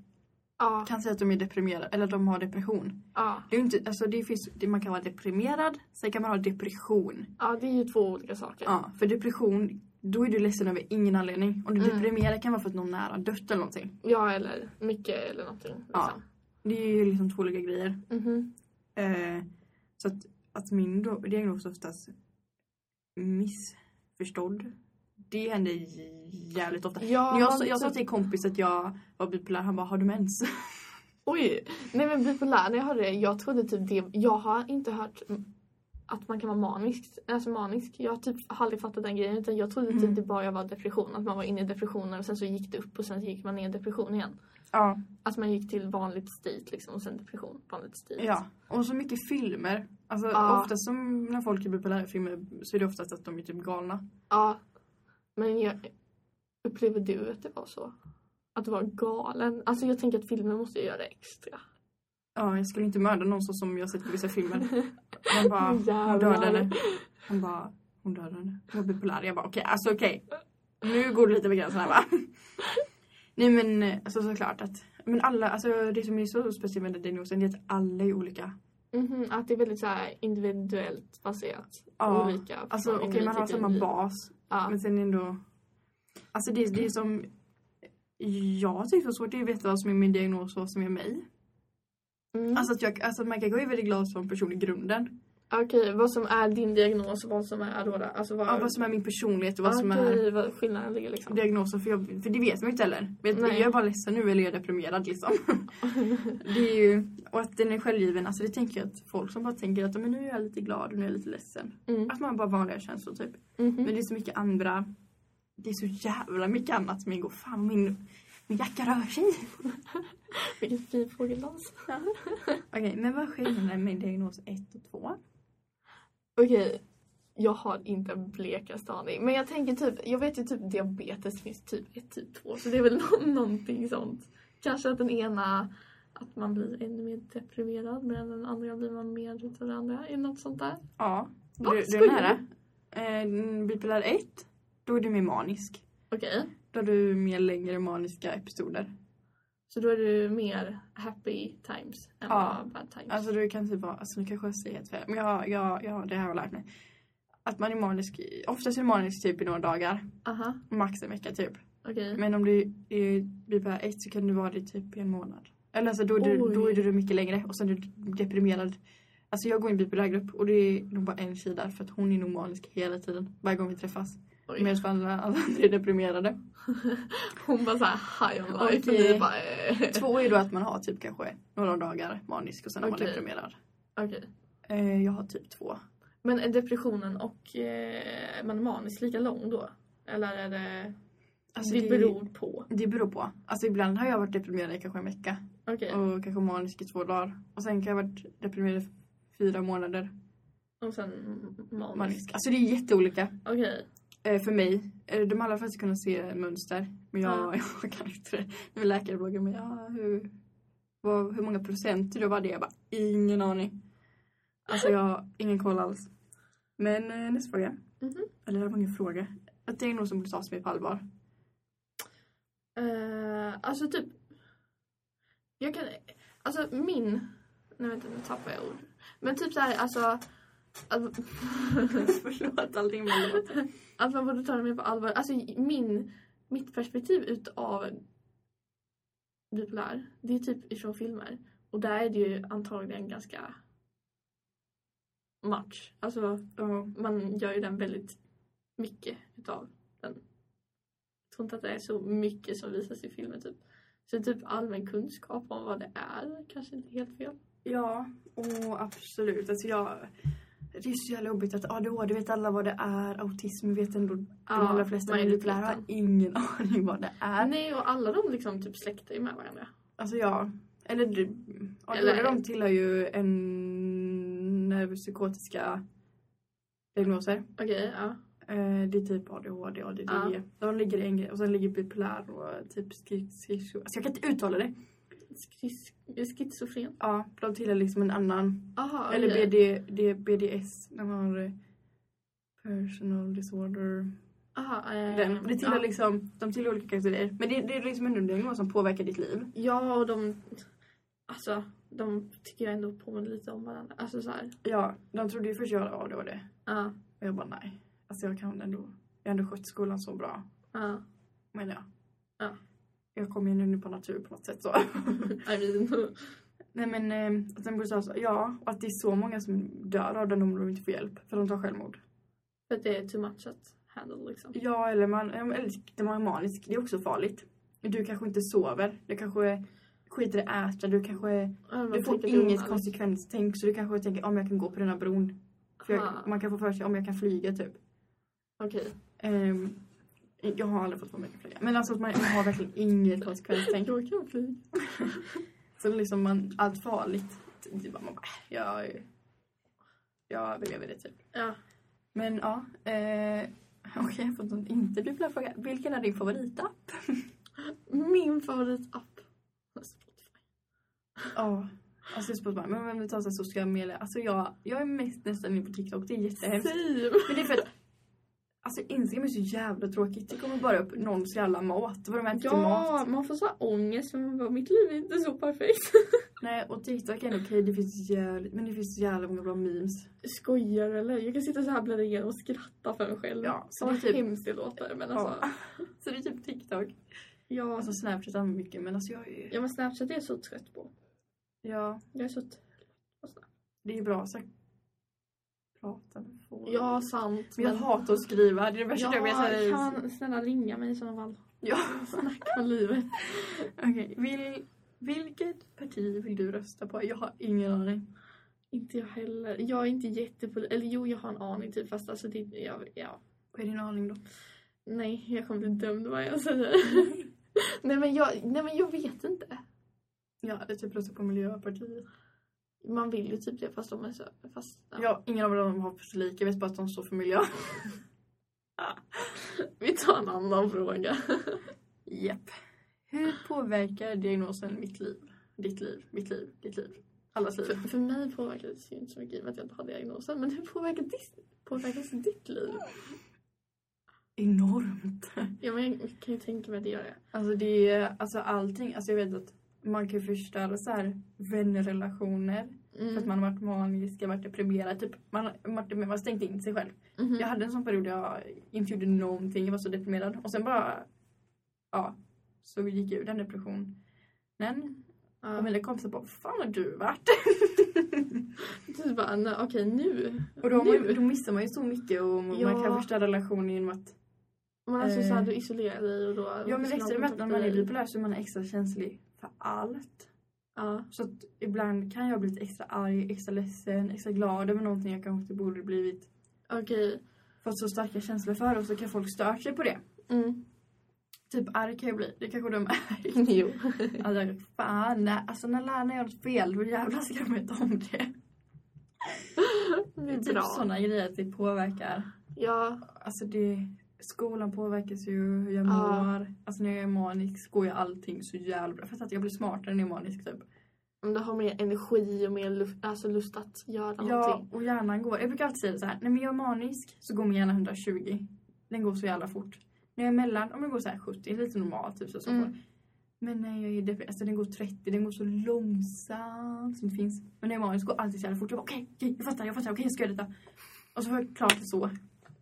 [SPEAKER 2] ja,
[SPEAKER 1] kan säga att de är deprimerade eller att de har depression.
[SPEAKER 2] ja,
[SPEAKER 1] Det är ju inte, alltså det finns, det- man kan vara deprimerad, sen kan man ha depression.
[SPEAKER 2] ja, det är ju två olika saker.
[SPEAKER 1] Ja, för depression, då är du ledsen över ingen anledning. Om du är
[SPEAKER 2] Mm.
[SPEAKER 1] deprimerad kan vara för att någon nära har dött eller någonting.
[SPEAKER 2] Ja, eller mycket eller någonting. Liksom.
[SPEAKER 1] Det är ju liksom två olika grejer.
[SPEAKER 2] Mhm.
[SPEAKER 1] Eh, så att, att min då, diagnos oftast missförstådd, det händer j- jävligt ofta.
[SPEAKER 2] Ja,
[SPEAKER 1] jag,
[SPEAKER 2] man
[SPEAKER 1] sa- jag sa
[SPEAKER 2] typ-
[SPEAKER 1] till en kompis att jag var bipolär, han bara har du mens?
[SPEAKER 2] Oj! Nej men bipolär, när jag hörde det, jag trodde typ det. Jag har inte hört mm, att man kan vara manisk. Alltså manisk. Jag typ har aldrig fattat den grejen. Utan jag trodde
[SPEAKER 1] Mm.
[SPEAKER 2] typ det bara var depression. Att man var inne i depressionen och sen så gick det upp och sen så gick man ner i depression igen.
[SPEAKER 1] Ja.
[SPEAKER 2] Att man gick till vanligt state liksom och sen depression. Vanligt state.
[SPEAKER 1] ja. Och så mycket filmer. Alltså
[SPEAKER 2] Ja.
[SPEAKER 1] oftast som när folk är bipolära i filmer så är det oftast att de är typ galna.
[SPEAKER 2] Ja. Men jag, upplever du att det var så? Att vara galen? Alltså jag tänker att filmen måste ju göra det extra.
[SPEAKER 1] Ja, jag skulle inte mörda någon så som jag sett på vissa filmer. Man bara,
[SPEAKER 2] *laughs* Jävlar.
[SPEAKER 1] Hon dödade henne. Hon bara, hon dödade henne. Hon var bipolär. Jag bara okej, alltså okej. Nu går det lite över gränsen här
[SPEAKER 2] *laughs*
[SPEAKER 1] va? Nej men alltså såklart att, men alla, alltså det som är så speciellt med den diagnosen det är att alla är olika.
[SPEAKER 2] Mhm, att det är väldigt så här individuellt baserat.
[SPEAKER 1] Mm-hmm. Ja,
[SPEAKER 2] Olika.
[SPEAKER 1] Alltså
[SPEAKER 2] från
[SPEAKER 1] okej
[SPEAKER 2] individ
[SPEAKER 1] man har
[SPEAKER 2] till
[SPEAKER 1] samma
[SPEAKER 2] individ.
[SPEAKER 1] bas
[SPEAKER 2] Ja.
[SPEAKER 1] men sen ändå, alltså det, det är
[SPEAKER 2] Mm.
[SPEAKER 1] som jag tycker det är svårt det är att veta vad som är min diagnos och vad som är mig.
[SPEAKER 4] Mm.
[SPEAKER 1] Alltså, att jag, alltså Maggie är väldigt glad som person i grunden.
[SPEAKER 2] Okej, vad som är din diagnos och vad som är Aurora? Alltså vad,
[SPEAKER 1] Ja, vad som är min personlighet och vad som är
[SPEAKER 2] Okej, vad skillnaden ligger liksom.
[SPEAKER 1] diagnosen. För, jag, för det vet man ju inte heller. Vet,
[SPEAKER 2] Nej.
[SPEAKER 1] jag är bara ledsen nu eller jag är deprimerad
[SPEAKER 2] *laughs*
[SPEAKER 1] liksom. det är ju, och att den är självgiven. Alltså det tänker jag att folk som bara tänker att men nu är jag lite glad och nu är jag lite ledsen.
[SPEAKER 2] Mm.
[SPEAKER 1] Att man har bara vanliga känslor typ.
[SPEAKER 2] Mhm.
[SPEAKER 1] Men det är så mycket andra. Det är så jävla mycket annat som ingår. Fan min, min jacka rör sig.
[SPEAKER 2] Vilken fin fågeldans.
[SPEAKER 1] Okej, men vad är skillnaden med diagnos 1 och 2?
[SPEAKER 2] Okej, jag har inte en blekaste aning. Men jag tänker typ, jag vet ju typ diabetes finns typ 1, typ 2. Så det är väl *laughs* nå- någonting sånt. Kanske att den ena, att man blir ännu mer deprimerad medan den andra blir man mer utav det andra. Är det något sånt där?
[SPEAKER 1] Ja, du,
[SPEAKER 2] Va?
[SPEAKER 1] du är
[SPEAKER 2] Skojar
[SPEAKER 1] nära. Eh, bipolär 1, då är du mer manisk.
[SPEAKER 2] Okej,
[SPEAKER 1] Då har du mer längre maniska episoder.
[SPEAKER 2] så då är du mer happy times än
[SPEAKER 1] Ja.
[SPEAKER 2] vad bad times.
[SPEAKER 1] Alltså du kan typ vara, alltså nu kanske jag säger helt fel, men jag, jag, jag, det här har jag lärt mig. Att man är manisk, i- oftast är man manisk typ i några dagar,
[SPEAKER 2] Aha,
[SPEAKER 1] max en vecka typ.
[SPEAKER 2] okej.
[SPEAKER 1] Men om du är bipolär 1 så kan du vara det typ i en månad. Eller alltså då är du,
[SPEAKER 2] Oj.
[SPEAKER 1] då är du mycket längre och sen är du deprimerad. Alltså jag går i en bipolär grupp och det är nog bara en tjej där för att hon är nog manisk hela tiden. Varje gång vi träffas.
[SPEAKER 2] Oj.
[SPEAKER 1] Medan alla, alla andra *laughs* är deprimerade.
[SPEAKER 2] Hon bara såhär high on life och
[SPEAKER 1] Okej.
[SPEAKER 2] vi bara eh.
[SPEAKER 1] Två är då att man har typ kanske några dagar manisk och sen är man
[SPEAKER 2] Okej.
[SPEAKER 1] deprimerad.
[SPEAKER 2] Okej.
[SPEAKER 1] Eh, jag har typ två.
[SPEAKER 2] Men är depressionen och eh, man är manisk lika lång då? Eller är det...
[SPEAKER 1] Alltså
[SPEAKER 2] det,
[SPEAKER 1] det,
[SPEAKER 2] beror på.
[SPEAKER 1] det beror på. Alltså ibland har jag varit deprimerad i kanske en vecka
[SPEAKER 2] Okej.
[SPEAKER 1] och kanske manisk i två dagar. Och sen kan jag ha varit deprimerad i fyra månader.
[SPEAKER 2] Och sen m- manisk.
[SPEAKER 1] Manisk. Alltså det är jätteolika.
[SPEAKER 2] Okej.
[SPEAKER 1] Eh, för mig. Eh, de allra flesta kunde se mönster. Men *laughs* jag,
[SPEAKER 2] Ja.
[SPEAKER 1] jag kan inte det. Det var läkare frågade mig ja, hur, vad, hur många procent det var det. Jag bara ingen aning. Alltså jag har ingen koll alls. Men eh, nästa fråga.
[SPEAKER 2] Mhm.
[SPEAKER 1] Eller det var ingen fråga. Att det är någon som borde tas med på allvar.
[SPEAKER 2] Eh, alltså typ... Jag kan... Alltså min... Nej vänta nu tappar jag ord. Men typ såhär alltså... *laughs* Att,
[SPEAKER 1] Förlåt allting var låt.
[SPEAKER 2] att man borde ta det mer på allvar. Alltså min... Mitt perspektiv utav bipolär, det är typ ifrån filmer. Och där är det ju antagligen ganska match. Alltså
[SPEAKER 1] Ja.
[SPEAKER 2] man gör ju den väldigt mycket utav den. Jag tror inte att det är så mycket som visas i filmen typ. Så typ allmän kunskap om vad det är kanske inte är helt fel.
[SPEAKER 1] Ja, och absolut. Alltså jag, det är så jävla jobbigt att ADHD vet alla vad det är. Autism vet ändå de allra flesta. Men bipolär har
[SPEAKER 2] majoriteten.
[SPEAKER 1] ingen *laughs* aning vad det är.
[SPEAKER 2] Nej och alla de liksom typ släktar ju med varandra.
[SPEAKER 1] Alltså ja. Eller, du- ja,
[SPEAKER 2] Eller-
[SPEAKER 1] eller de tillhör ju en neuropsykotiska diagnoser.
[SPEAKER 2] Okej, ja.
[SPEAKER 1] Eh, det är typ ADHD, ADD. Ja. E. De ligger i en grej och sen ligger bipolär och typ ski- schizo. Alltså jag kan inte uttala det.
[SPEAKER 2] Skis- schizofren.
[SPEAKER 1] Ja, de tillhör liksom en annan.
[SPEAKER 2] Aha,
[SPEAKER 1] Eller
[SPEAKER 2] okej.
[SPEAKER 1] BD, det, BDS. De har eh, personal disorder.
[SPEAKER 2] Aha, eh,
[SPEAKER 1] Den, det tillhör
[SPEAKER 2] ja.
[SPEAKER 1] liksom, de tillhör olika kategorier. Men det, det är liksom en diagnos som påverkar ditt liv.
[SPEAKER 2] ja och de... Alltså de tycker jag ändå påminner lite om varandra. Alltså såhär.
[SPEAKER 1] Ja, de trodde ju först jag hade ADHD.
[SPEAKER 2] Ja.
[SPEAKER 1] Och jag bara nej. Alltså jag kan ändå. Jag har ändå skött skolan så bra.
[SPEAKER 2] Ja.
[SPEAKER 1] Men ja.
[SPEAKER 2] Ja.
[SPEAKER 1] Jag kom ju nu på natur på något sätt så. *laughs*
[SPEAKER 2] I mean. *laughs*
[SPEAKER 1] nej men eh, att den borde säga så. Ja, och att det är så många som dör av den om de inte får hjälp. För de tar självmord.
[SPEAKER 2] För att det är too much att handle liksom.
[SPEAKER 1] Ja, eller man, ja, men- eller när man är manisk. Det är också farligt. Du kanske inte sover. Du kanske skiter i att äta. Du kanske
[SPEAKER 2] Ja, man
[SPEAKER 1] du får
[SPEAKER 2] tänker på
[SPEAKER 1] inget
[SPEAKER 2] det.
[SPEAKER 1] konsekvenstänk. Så du kanske tänker om jag kan gå på den här bron. För
[SPEAKER 2] Aha.
[SPEAKER 1] jag, man kan få för sig om jag kan flyga typ.
[SPEAKER 2] Okej.
[SPEAKER 1] Ehm, jag har aldrig fått vara med och flyga. Men alltså att man, man har verkligen inget konsekvenstänk.
[SPEAKER 2] Jag kan flyga.
[SPEAKER 1] Så liksom man, allt farligt. Det är bara, man bara, äh, jag, jag överlever det typ.
[SPEAKER 2] Ja.
[SPEAKER 1] Men ja. Eh, Okej, jag har fått en inte bipolär fråga. Vilken är din favoritapp?
[SPEAKER 2] Min favoritapp. Spotify.
[SPEAKER 1] Ja. Alltså Spotify. Men om vi tar så här sociala medier. Alltså jag, jag är mest nästan inne på TikTok. Det är jättehemskt.
[SPEAKER 2] Same.
[SPEAKER 1] Men det är för att Alltså Instagram är så jävla tråkigt. Det kommer bara upp någon jävla mat. Vad de äter till mat.
[SPEAKER 2] Ja, man får så här ångest för man bara, mitt liv är inte så perfekt.
[SPEAKER 1] Nej, och TikTok är ändå okej. Det finns jävligt, men det finns jävla många bra memes.
[SPEAKER 2] Skojar eller? Jag kan sitta så här bland er och skratta för mig själv.
[SPEAKER 1] Ja, så
[SPEAKER 2] Vad
[SPEAKER 1] det är typ-
[SPEAKER 2] hemskt det låter. Men alltså,
[SPEAKER 1] Så det är typ TikTok.
[SPEAKER 2] ja.
[SPEAKER 1] Alltså Snapchat använder mycket, men alltså jag är...
[SPEAKER 2] ja men Snapchat är jag så trött på.
[SPEAKER 1] Ja,
[SPEAKER 2] Jag är så t-
[SPEAKER 1] det är bra så jag pratar med folk.
[SPEAKER 2] Ja, sant.
[SPEAKER 1] Men jag hatar att skriva, det är det värsta jag vet. Alltså,
[SPEAKER 2] ja, kan man snälla ringa mig i sådana fall?
[SPEAKER 1] Ja. *laughs*
[SPEAKER 2] Snack om livet.
[SPEAKER 1] Okej, Vil, vilket parti vill du rösta på? Jag har ingen aning.
[SPEAKER 2] Inte jag heller. Jag är inte jättepol... Eller jo, jag har en aning typ fast alltså det... Jag, ja.
[SPEAKER 1] Vad är din aning då?
[SPEAKER 2] Nej, jag kommer bli dömd vad
[SPEAKER 1] *laughs*
[SPEAKER 2] jag säger. nej, men jag, nej men jag vet inte.
[SPEAKER 1] Jag hade typ röstat på Miljöpartiet.
[SPEAKER 2] Man vill ju typ det fast de är så... Fast, ja.
[SPEAKER 1] Ja, ingen av dem har för lika, jag vet bara att de står för miljö.
[SPEAKER 2] Vi tar en annan fråga.
[SPEAKER 1] Japp. Hur påverkar diagnosen mitt liv? Ditt liv, mitt liv, ditt liv. Allas liv.
[SPEAKER 2] För, för mig påverkades ju inte så mycket i och med att jag inte har diagnosen. Men hur påverkar dis, påverkas ditt liv?
[SPEAKER 1] Enormt.
[SPEAKER 2] Ja, men jag kan ju tänka mig att det gör det.
[SPEAKER 1] Alltså det är, alltså allting, alltså jag vet att man kan ju förstöra så här vänrelationer.
[SPEAKER 2] Mm.
[SPEAKER 1] För att man har varit manisk, jag har varit deprimerad. Typ, man, har- man, har- man har stängt in sig själv.
[SPEAKER 2] Mhm.
[SPEAKER 1] Jag hade en sån period där jag inte gjorde någonting, jag var så deprimerad. Och sen bara, ja, så gick jag ur den depressionen.
[SPEAKER 2] Ja.
[SPEAKER 1] Och mina kompisar bara, vad fan har du varit?
[SPEAKER 2] Du Typ bara, nej, okej nu.
[SPEAKER 1] Och då, har man, ju-
[SPEAKER 2] Nu?
[SPEAKER 1] då missar man ju så mycket och man
[SPEAKER 2] Ja.
[SPEAKER 1] kan förstöra relationer genom att
[SPEAKER 2] Men alltså så här,
[SPEAKER 1] Eh.
[SPEAKER 2] du isolerar dig och då...
[SPEAKER 1] Ja men det är extra med att när man är
[SPEAKER 2] blir
[SPEAKER 1] bipolär så är man extra känslig för allt.
[SPEAKER 2] Ja.
[SPEAKER 1] Så att ibland kan jag bli lite extra arg, extra ledsen, extra glad över någonting jag kanske inte borde blivit.
[SPEAKER 2] Okej.
[SPEAKER 1] För att så starka känslor för och så kan folk störa sig på det.
[SPEAKER 2] Mm.
[SPEAKER 1] Typ arg kan jag bli, det kanske de är.
[SPEAKER 2] *laughs* Jo.
[SPEAKER 1] Alltså fan, nej. alltså när lärarna gör något fel då jävlar ska de veta om det. *laughs*
[SPEAKER 2] Det
[SPEAKER 1] det är
[SPEAKER 2] är
[SPEAKER 1] typ
[SPEAKER 2] bra.
[SPEAKER 1] sådana grejer att det påverkar.
[SPEAKER 2] Ja.
[SPEAKER 1] Alltså det, skolan påverkas ju hur jag mår.
[SPEAKER 2] Ja.
[SPEAKER 1] Alltså när jag är manisk går ju allting så jävla bra. För att jag blir smartare när jag är manisk typ.
[SPEAKER 2] Om du har mer energi och mer luft, alltså lust att göra
[SPEAKER 1] Ja,
[SPEAKER 2] någonting.
[SPEAKER 1] och hjärnan går. Jag brukar alltid säga så här, när jag är manisk så går min hjärna 120. Den går så jävla fort. När jag är mellan, om jag går så här 70, det är lite normalt. Typ, så, så
[SPEAKER 2] Mm.
[SPEAKER 1] fort. Men när jag är deprimerad, alltså den går 30, den går så långsamt som det finns. Men när jag är manisk går alltid så jävla fort. Jag bara okej, okej, jag fattar, jag fattar, okej jag ska göra detta. Och så får jag klart det så.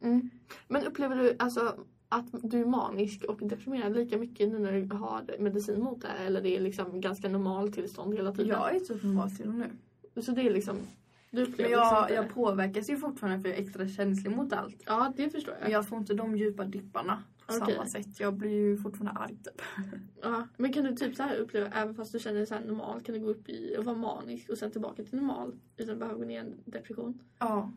[SPEAKER 2] Mm. Men upplever du alltså att du är manisk och deprimerad lika mycket nu när du har medicin mot det? Eller det är liksom ganska normalt tillstånd hela tiden?
[SPEAKER 1] Jag är typ normal till och nu.
[SPEAKER 2] Så det är liksom... Du upplever
[SPEAKER 1] Men
[SPEAKER 2] liksom
[SPEAKER 1] jag,
[SPEAKER 2] inte-
[SPEAKER 1] jag påverkas ju fortfarande för jag är extra känslig mot allt.
[SPEAKER 2] Ja, det förstår jag.
[SPEAKER 1] Men jag får inte de djupa dipparna på
[SPEAKER 2] Okej.
[SPEAKER 1] samma sätt. Jag blir ju fortfarande arg typ.
[SPEAKER 2] Ja, men kan du typ så här uppleva, även fast du känner dig så här normal, kan du gå upp i och vara manisk och sen tillbaka till normal utan att behöva gå ner i en depression?
[SPEAKER 1] Ja.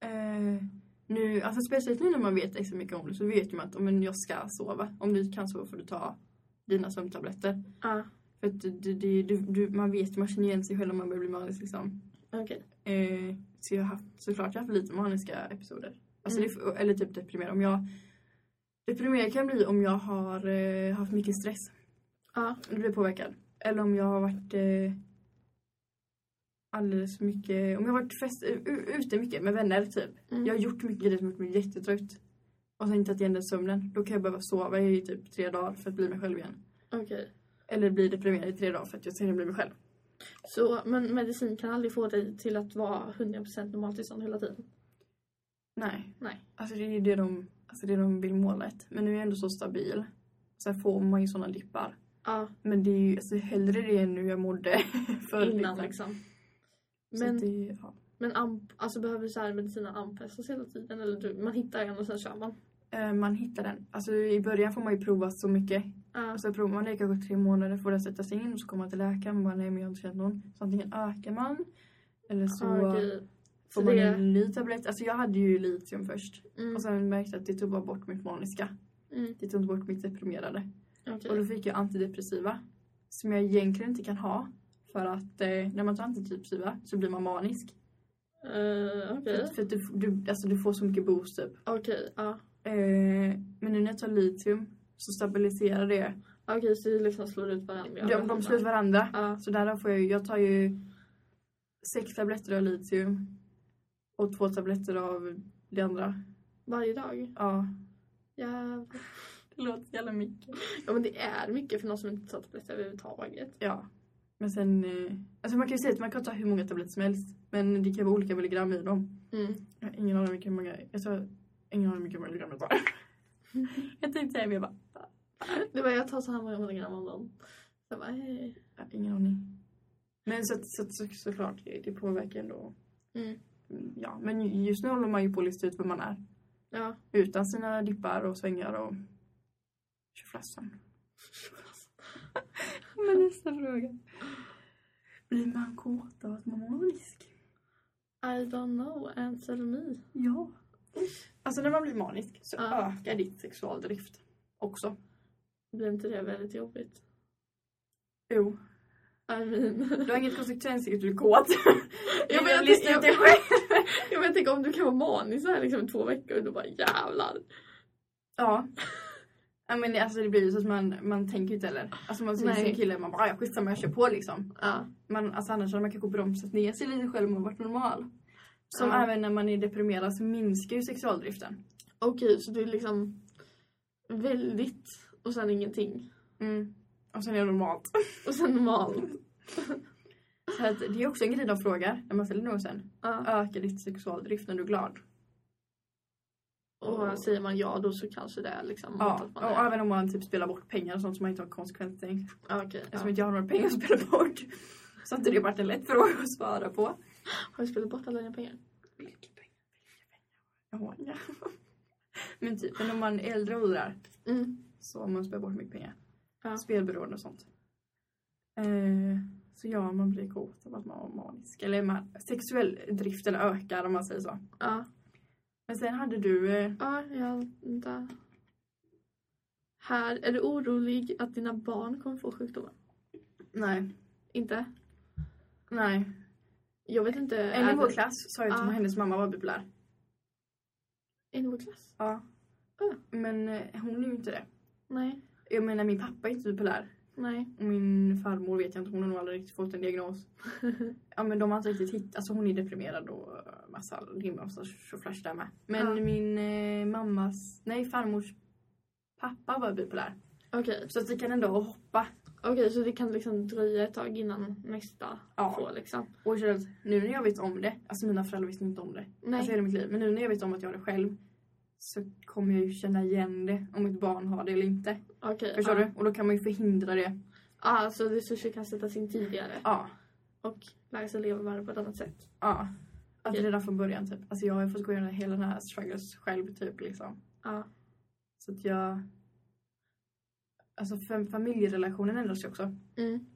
[SPEAKER 1] Eh, nu, alltså speciellt nu när man vet extra mycket om det så vet ju man att "Ja, men jag ska sova. Om du kan sova får du ta dina sömntabletter.
[SPEAKER 2] Ja,
[SPEAKER 1] För att det, det, det, du, du, man vet, man känner igen sig själv om man börjar bli manisk liksom.
[SPEAKER 2] Ah, okej.
[SPEAKER 1] Eh, så jag har haft, såklart jag har haft lite maniska episoder. Alltså
[SPEAKER 2] Mm.
[SPEAKER 1] det, eller typ deprimerad. Om jag, deprimerad kan jag bli om jag har eh, haft mycket stress.
[SPEAKER 2] Ja,
[SPEAKER 1] Om du blir påverkad. Eller om jag har varit eh, alldeles mycket, om jag har varit fest, u- u- ute mycket med vänner typ.
[SPEAKER 2] Mm.
[SPEAKER 1] Jag har gjort mycket grejer som har gjort mig jättetrött. Och sen inte tagit igen den sömnen. Då kan jag behöva sova i typ tre dagar för att bli mig själv igen.
[SPEAKER 2] okej.
[SPEAKER 1] Eller bli deprimerad i tre dagar för att jag senare blir mig själv.
[SPEAKER 2] Så, men medicin kan aldrig få dig till att vara 100% normaltillstånd hela tiden?
[SPEAKER 1] Nej.
[SPEAKER 2] Nej.
[SPEAKER 1] Alltså det är ju det de, alltså det de vill målet. Men nu är jag ändå så stabil. Sen får man ju sådana dippar.
[SPEAKER 2] Ja,
[SPEAKER 1] Men det är ju alltså, hellre det än hur jag mådde *laughs* förr.
[SPEAKER 2] innan
[SPEAKER 1] liksom.
[SPEAKER 2] liksom.
[SPEAKER 1] Så
[SPEAKER 2] Men,
[SPEAKER 1] det, ja.
[SPEAKER 2] men amp, alltså behöver så här medicinen anpassas hela tiden? Eller du, man hittar en och sen kör man?
[SPEAKER 1] Eh, Man hittar den. Alltså i början får man ju prova så mycket.
[SPEAKER 2] Ja,
[SPEAKER 1] Alltså provar man det i kanske tre månader får det sätta sig in och så kommer man till läkaren och bara nej men jag har inte känt någon. Så antingen ökar man eller så
[SPEAKER 2] ja, ah, okej.
[SPEAKER 1] får
[SPEAKER 2] Så
[SPEAKER 1] man
[SPEAKER 2] det-
[SPEAKER 1] en ny tablett. Alltså jag hade ju litium först
[SPEAKER 2] Mm,
[SPEAKER 1] och sen märkte jag att det tog bara bort mitt maniska.
[SPEAKER 2] mm,
[SPEAKER 1] Det tog inte bort mitt deprimerade.
[SPEAKER 2] okej.
[SPEAKER 1] Och då fick jag antidepressiva som jag egentligen inte kan ha. För att eh, när man tar antidepressiva så blir man manisk.
[SPEAKER 2] Eh,
[SPEAKER 1] För,
[SPEAKER 2] Okej,
[SPEAKER 1] att- för att du, du, alltså, du får så mycket boost typ.
[SPEAKER 2] okej, ja.
[SPEAKER 1] Eh, men nu när jag tar litium så stabiliserar det
[SPEAKER 2] Okej, så det liksom slår ut varandra?
[SPEAKER 1] De, de slår ut varandra.
[SPEAKER 2] Ja,
[SPEAKER 1] Så där får jag ju, jag tar ju sex tabletter av litium och två tabletter av det andra.
[SPEAKER 2] varje dag?
[SPEAKER 1] Ja.
[SPEAKER 2] Ja.
[SPEAKER 1] Det låter jävla mycket.
[SPEAKER 2] ja, men det är mycket för någon som inte tar tabletter överhuvudtaget.
[SPEAKER 1] Ja. Men sen, eh, alltså man kan ju säga att man kan ta hur många tabletter som helst. Men det kan vara olika milligram i dem.
[SPEAKER 2] Mm.
[SPEAKER 1] Jag har ingen aning om hur många, jag tar ingen aning om hur många milligram jag *laughs* tar. jag tänkte säga men jag bara,
[SPEAKER 2] Det var jag tar så här många milligram om dagen. Jag bara, hej.
[SPEAKER 1] jag har ingen aning. Men så, att- så, att- så, såklart, det det påverkar ändå.
[SPEAKER 2] Mm.
[SPEAKER 1] Mm, Ja, men ju- just nu håller man ju på att lista ut vem man är.
[SPEAKER 2] Ja.
[SPEAKER 1] Utan sina dippar och svängar och tjoflassan. *laughs* men nästa fråga. Blir man kåt av att man har manisk?
[SPEAKER 2] I don't know, answer me.
[SPEAKER 1] Ja. Alltså när man blir manisk så
[SPEAKER 2] Ja.
[SPEAKER 1] ökar ditt sexualdrift också.
[SPEAKER 2] Blir inte det väldigt jobbigt?
[SPEAKER 1] Jo.
[SPEAKER 2] I mean. *laughs*
[SPEAKER 1] Du har inget konsekvens i att du är *laughs* kåt.
[SPEAKER 2] Jag
[SPEAKER 1] Du
[SPEAKER 2] vet,
[SPEAKER 1] listar ut
[SPEAKER 2] jag,
[SPEAKER 1] det
[SPEAKER 2] jag,
[SPEAKER 1] själv.
[SPEAKER 2] jag vet inte om du kan vara manig så här liksom i två veckor och då bara jävlar.
[SPEAKER 1] Ja. Ja, men det- alltså det blir ju så att man, man tänker ju inte heller. Alltså man ser
[SPEAKER 2] Nej.
[SPEAKER 1] sin kille man bara "Ah, ja skitsamma jag kör på liksom.
[SPEAKER 2] Ja.
[SPEAKER 1] Man, alltså annars hade man kanske bromsat ner sig lite själv om man varit normal. Som
[SPEAKER 2] Ja.
[SPEAKER 1] även när man är deprimerad så minskar ju sexualdriften.
[SPEAKER 2] Okej, så det är liksom väldigt och sen ingenting.
[SPEAKER 1] Mm. Och sen är det normalt.
[SPEAKER 2] Och sen normalt.
[SPEAKER 1] Så att det är också en grej de frågar när man ställer någon sen.
[SPEAKER 2] Ja.
[SPEAKER 1] Ökar ditt sexualdrift när du är glad?
[SPEAKER 2] Och säger man ja då så kanske det är liksom
[SPEAKER 1] Ja.
[SPEAKER 2] att man
[SPEAKER 1] Och
[SPEAKER 2] är.
[SPEAKER 1] även om man typ spelar bort pengar och sånt som man inte har konsekvenstänk.
[SPEAKER 2] Ja, okej, ja.
[SPEAKER 1] Eftersom inte jag har några pengar att spela bort. Så att det har varit en lätt fråga att svara på.
[SPEAKER 2] Har du spelat bort alla dina pengar?
[SPEAKER 1] Vilka pengar? Vilka pengar? Ja, ja. *laughs* Men typ, men om man är äldre åldrar
[SPEAKER 2] Mm.
[SPEAKER 1] så har man spelat bort mycket pengar.
[SPEAKER 2] Ja.
[SPEAKER 1] Spelberoende och sånt. Eh, så ja, man blir kåt av att man är manisk. Eller man, sexuell driften ökar om man säger så.
[SPEAKER 2] Ja.
[SPEAKER 1] Men sen hade du... Eh,
[SPEAKER 2] Ja, jag... Vänta. Här, är du orolig att dina barn kommer få sjukdomar?
[SPEAKER 1] nej,
[SPEAKER 2] Inte?
[SPEAKER 1] nej.
[SPEAKER 2] Jag vet inte.
[SPEAKER 1] En
[SPEAKER 2] är
[SPEAKER 1] i vår
[SPEAKER 2] det-
[SPEAKER 1] klass sa ju att
[SPEAKER 2] Ja.
[SPEAKER 1] hennes mamma var bipolär.
[SPEAKER 2] En i vår klass?
[SPEAKER 1] Ja.
[SPEAKER 2] Ja.
[SPEAKER 1] Men eh, hon är ju inte det.
[SPEAKER 2] Nej.
[SPEAKER 1] Jag menar min pappa är inte bipolär.
[SPEAKER 2] Nej.
[SPEAKER 1] Och Min farmor vet jag inte, hon har nog aldrig riktigt fått en diagnos. *laughs* ja men de har inte riktigt hittat, alltså hon är deprimerad och eh, massa rim och så så flash där med. Men
[SPEAKER 2] Ja.
[SPEAKER 1] min eh, mammas, nej farmors pappa var bipolär.
[SPEAKER 2] Okej.
[SPEAKER 1] Så att vi kan ändå hoppa.
[SPEAKER 2] Okej, så det kan liksom dröja ett tag innan nästa
[SPEAKER 1] Ja.
[SPEAKER 2] får liksom.
[SPEAKER 1] Och känner att nu när jag vet om det, alltså mina föräldrar visste inte om det.
[SPEAKER 2] Nej.
[SPEAKER 1] Alltså hela mitt liv. Men nu när jag vet om att jag har det själv så kommer jag ju känna igen det om mitt barn har det eller inte.
[SPEAKER 2] Okej.
[SPEAKER 1] Förstår
[SPEAKER 2] ja.
[SPEAKER 1] du? Och då kan man ju förhindra det.
[SPEAKER 2] Ja, alltså, så resurser kan sättas in tidigare
[SPEAKER 1] Ja.
[SPEAKER 2] och lära sig leva med det på ett annat sätt.
[SPEAKER 1] Ja. Att
[SPEAKER 2] Ja.
[SPEAKER 1] redan från början typ. Alltså jag har ju fått gå igenom hela den här struggles själv typ liksom.
[SPEAKER 2] Ja.
[SPEAKER 1] Så att jag... Alltså fam- familjerelationen ändras ju också.
[SPEAKER 2] Mm.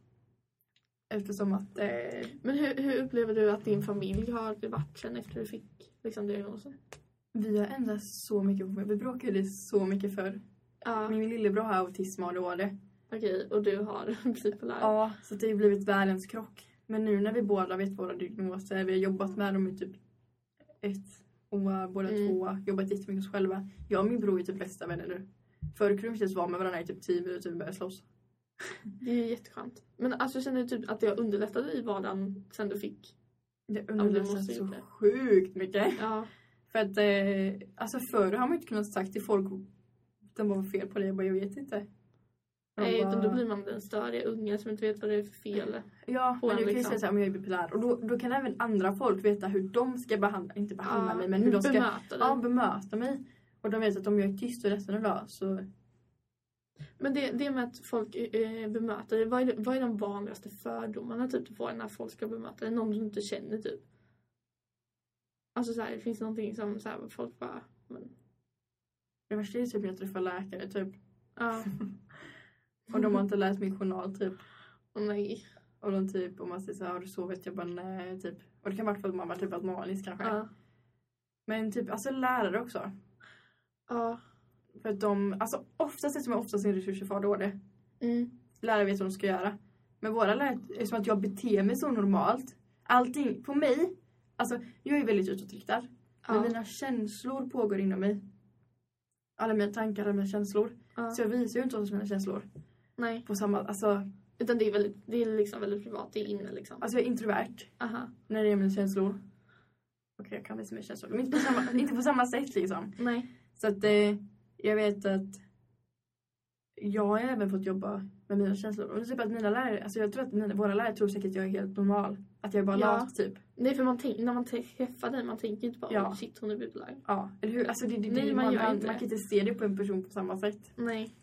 [SPEAKER 1] Eftersom att... Eh,
[SPEAKER 2] Men hur, hur upplever du att din familj har varit sen efter du fick liksom, diagnosen?
[SPEAKER 1] vi har ändrats så mycket på mig. Vi bråkade så mycket förr.
[SPEAKER 2] Ja,
[SPEAKER 1] Min lillebror har autism och ADHD.
[SPEAKER 2] okej. Och du har *laughs* bipolär?
[SPEAKER 1] Ja. Så att det har ju blivit världens krock. Men nu när vi båda vet våra diagnoser, vi har jobbat med dem i typ ett år, båda
[SPEAKER 2] Mm.
[SPEAKER 1] två, jobbat jättemycket oss själva. Jag och min bror är typ bästa vänner nu. Förr kunde vi inte ens vara med varandra i typ tio minuter, vi började slåss.
[SPEAKER 2] Det är ju jätteskönt. Men alltså känner du typ att det har underlättat i vardagen sen du fick?
[SPEAKER 1] Det
[SPEAKER 2] Ja, men det
[SPEAKER 1] underlättar
[SPEAKER 2] måste
[SPEAKER 1] så
[SPEAKER 2] ju det.
[SPEAKER 1] sjukt mycket.
[SPEAKER 2] Ja.
[SPEAKER 1] För att eh, alltså förr har man inte kunnat sagt till folk utan vad var fel på dig? Jag bara, jag vet inte. De
[SPEAKER 2] Nej, utan
[SPEAKER 1] bara,
[SPEAKER 2] då blir man den störiga ungen som inte vet vad det är för fel.
[SPEAKER 1] ja,
[SPEAKER 2] på
[SPEAKER 1] men
[SPEAKER 2] en
[SPEAKER 1] du kan ju
[SPEAKER 2] liksom.
[SPEAKER 1] säga såhär, men jag är bipolär. Och då, då kan även andra folk veta hur de ska behandla, inte behandla
[SPEAKER 2] Ja,
[SPEAKER 1] mig, men hur de ska
[SPEAKER 2] bemöta dig.
[SPEAKER 1] ja, bemöta mig. Och de vet att om jag är tyst och ledsen idag så
[SPEAKER 2] Men det, det med att folk eh, bemöter dig, vad är, det- vad är de vanligaste fördomarna typ, du får när folk ska bemöta dig? Någon du inte känner typ? Alltså såhär, finns det någonting som såhär, folk bara... Men,
[SPEAKER 1] det värsta är typ när jag träffar läkare typ. *laughs*
[SPEAKER 2] ja,
[SPEAKER 1] Och de har inte läst min journal typ.
[SPEAKER 2] och nej.
[SPEAKER 1] Och de typ, om man säger såhär, har du sovit? Jag bara nej typ. Och det kan vara för att man har typ varit manisk kanske.
[SPEAKER 2] Ja,
[SPEAKER 1] Men typ, alltså lärare också.
[SPEAKER 2] ja,
[SPEAKER 1] För att de, alltså oftast eftersom jag oftast är resurser för ADHD.
[SPEAKER 2] mm,
[SPEAKER 1] Lärare vet vad de ska göra. Men våra lärare, eftersom att jag beter mig så normalt. Allting, på mig. Alltså jag är väldigt utåtriktad.
[SPEAKER 2] ja,
[SPEAKER 1] Men mina känslor pågår inom mig. Alla mina tankar, alla mina känslor.
[SPEAKER 2] ja,
[SPEAKER 1] Så jag visar ju inte oss mina känslor.
[SPEAKER 2] nej.
[SPEAKER 1] På samma, alltså,
[SPEAKER 2] Utan det är, väldigt, det är liksom väldigt privat, det är inne liksom.
[SPEAKER 1] alltså jag är introvert.
[SPEAKER 2] Aha,
[SPEAKER 1] När det är mina känslor. Okej jag kan visa mina känslor. Men inte på samma, inte på samma sätt liksom.
[SPEAKER 2] nej.
[SPEAKER 1] Så att eh, jag vet att jag har även fått jobba med mina känslor. Och typ att mina lärare, alltså jag tror att mina, våra lärare tror säkert att jag är helt normal. Att jag är bara
[SPEAKER 2] Ja.
[SPEAKER 1] lat typ.
[SPEAKER 2] Nej för man tänk, när man träffar dig, man tänker inte bara
[SPEAKER 1] Ja.
[SPEAKER 2] oh, shit hon är bipolär.
[SPEAKER 1] Ja, eller hur? Alltså det, det,
[SPEAKER 2] Nej,
[SPEAKER 1] det,
[SPEAKER 2] man
[SPEAKER 1] man,
[SPEAKER 2] gör
[SPEAKER 1] man,
[SPEAKER 2] inte
[SPEAKER 1] man
[SPEAKER 2] det.
[SPEAKER 1] kan inte se det på en person på samma sätt.
[SPEAKER 2] Nej.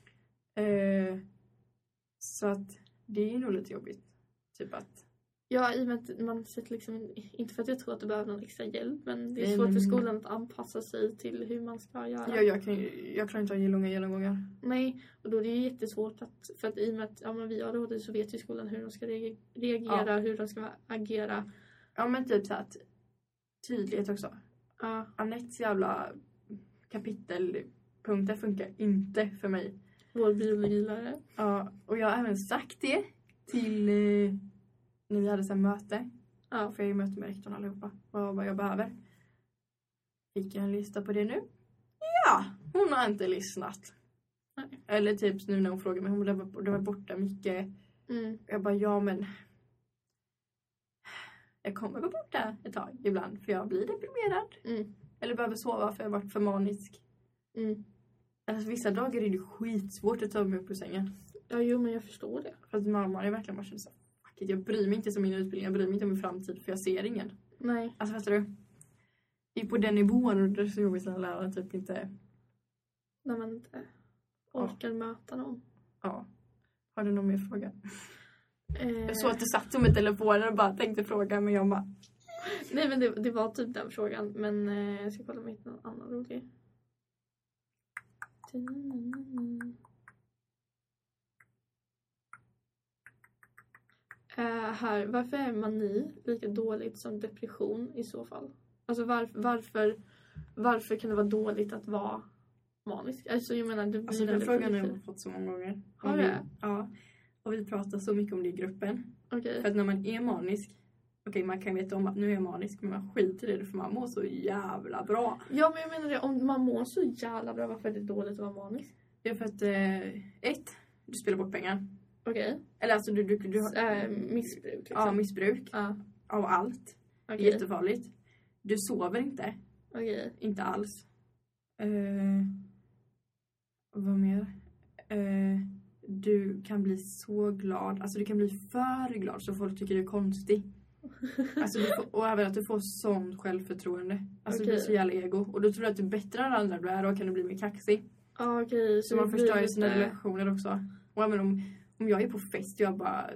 [SPEAKER 1] Eh, så att det är nog lite jobbigt. Typ att
[SPEAKER 2] Ja, i och med att man sätter liksom, inte för att jag tror att du behöver någon extra hjälp, men det är
[SPEAKER 1] Nej,
[SPEAKER 2] svårt för
[SPEAKER 1] men-
[SPEAKER 2] skolan att anpassa sig till hur man ska göra.
[SPEAKER 1] Jag, jag, kan, ju- jag klarar inte av långa genomgångar.
[SPEAKER 2] Nej, och då är det ju jättesvårt att, för att i och med att ja, men vi har ADHD så vet ju skolan hur de ska reage- reagera, hur de ska agera.
[SPEAKER 1] Ja men typ så att tydlighet också.
[SPEAKER 2] Ja,
[SPEAKER 1] Anettes jävla kapitelpunkter funkar inte för mig.
[SPEAKER 2] vår biologilärare.
[SPEAKER 1] Ja, och jag har även sagt det till eh, när vi hade så här möte.
[SPEAKER 2] Ja.
[SPEAKER 1] För jag har ju möte med rektorn allihopa. Vad, vad jag behöver. Fick jag en lista på det nu? Ja, hon har inte lyssnat.
[SPEAKER 2] Nej.
[SPEAKER 1] Eller typ nu när hon frågar mig, hon blev- det var borta mycket.
[SPEAKER 2] Mm.
[SPEAKER 1] Jag bara, ja men. Jag kommer vara borta ett tag ibland för jag blir deprimerad.
[SPEAKER 2] Mm.
[SPEAKER 1] Eller behöver sova för jag har varit för manisk.
[SPEAKER 2] Mm.
[SPEAKER 1] Alltså, vissa dagar är det skitsvårt att ta mig upp ur sängen.
[SPEAKER 2] Ja, jo men jag förstår det.
[SPEAKER 1] För att mamma är verkligen bara känner så här, fuck it, jag bryr mig inte om min utbildning, jag bryr mig inte om min framtid för jag ser ingen.
[SPEAKER 2] Nej.
[SPEAKER 1] Alltså fattar du? Det är på den nivån och det är så jobbigt när läraren typ inte,
[SPEAKER 2] När man inte orkar möta någon.
[SPEAKER 1] ja. Har du någon mer fråga?
[SPEAKER 2] Eh,
[SPEAKER 1] Jag såg att du satt med telefonen och bara tänkte fråga men jag bara,
[SPEAKER 2] Nej men det, det var typ den frågan. Men eh, jag ska kolla om jag hittar någon annan rolig. Eh, här, varför är mani lika dåligt som depression i så fall? Alltså varf, varför, varför kan det vara dåligt att vara manisk? Alltså jag menar, du
[SPEAKER 1] alltså den
[SPEAKER 2] blir väldigt
[SPEAKER 1] frågan har
[SPEAKER 2] lite-
[SPEAKER 1] jag fått så många gånger.
[SPEAKER 2] Har
[SPEAKER 1] Och vi-
[SPEAKER 2] du?
[SPEAKER 1] Ja. Och vi pratar så mycket om det i gruppen.
[SPEAKER 2] Okej.
[SPEAKER 1] För att när man är manisk, okej man kan veta om att nu är jag manisk men man skiter i det för man mår så jävla bra.
[SPEAKER 2] Ja men jag menar det, om man mår så jävla bra, varför är det dåligt att vara manisk?
[SPEAKER 1] Det är för att, eh, ett, du spelar bort pengar.
[SPEAKER 2] Okej.
[SPEAKER 1] Eller alltså du, du, du har...
[SPEAKER 2] Eh, missbruk liksom.
[SPEAKER 1] Ja, missbruk
[SPEAKER 2] Ja,
[SPEAKER 1] av allt.
[SPEAKER 2] okej.
[SPEAKER 1] Jättefarligt. Du sover inte.
[SPEAKER 2] Okej.
[SPEAKER 1] Inte alls. Eh, vad mer? Eh, du kan bli så glad. Alltså du kan bli för glad så folk tycker du är *laughs* konstig. Alltså, du får, och även att du får sånt självförtroende. Alltså du blir
[SPEAKER 2] Okej.
[SPEAKER 1] så jävla ego. Och då tror du att du är bättre än alla andra du är och kan du bli mer kaxig.
[SPEAKER 2] Ja, okej.
[SPEAKER 1] Så man
[SPEAKER 2] det
[SPEAKER 1] förstör
[SPEAKER 2] blir
[SPEAKER 1] ju sina
[SPEAKER 2] lite-
[SPEAKER 1] relationer också. Och även om, om jag är på fest och jag bara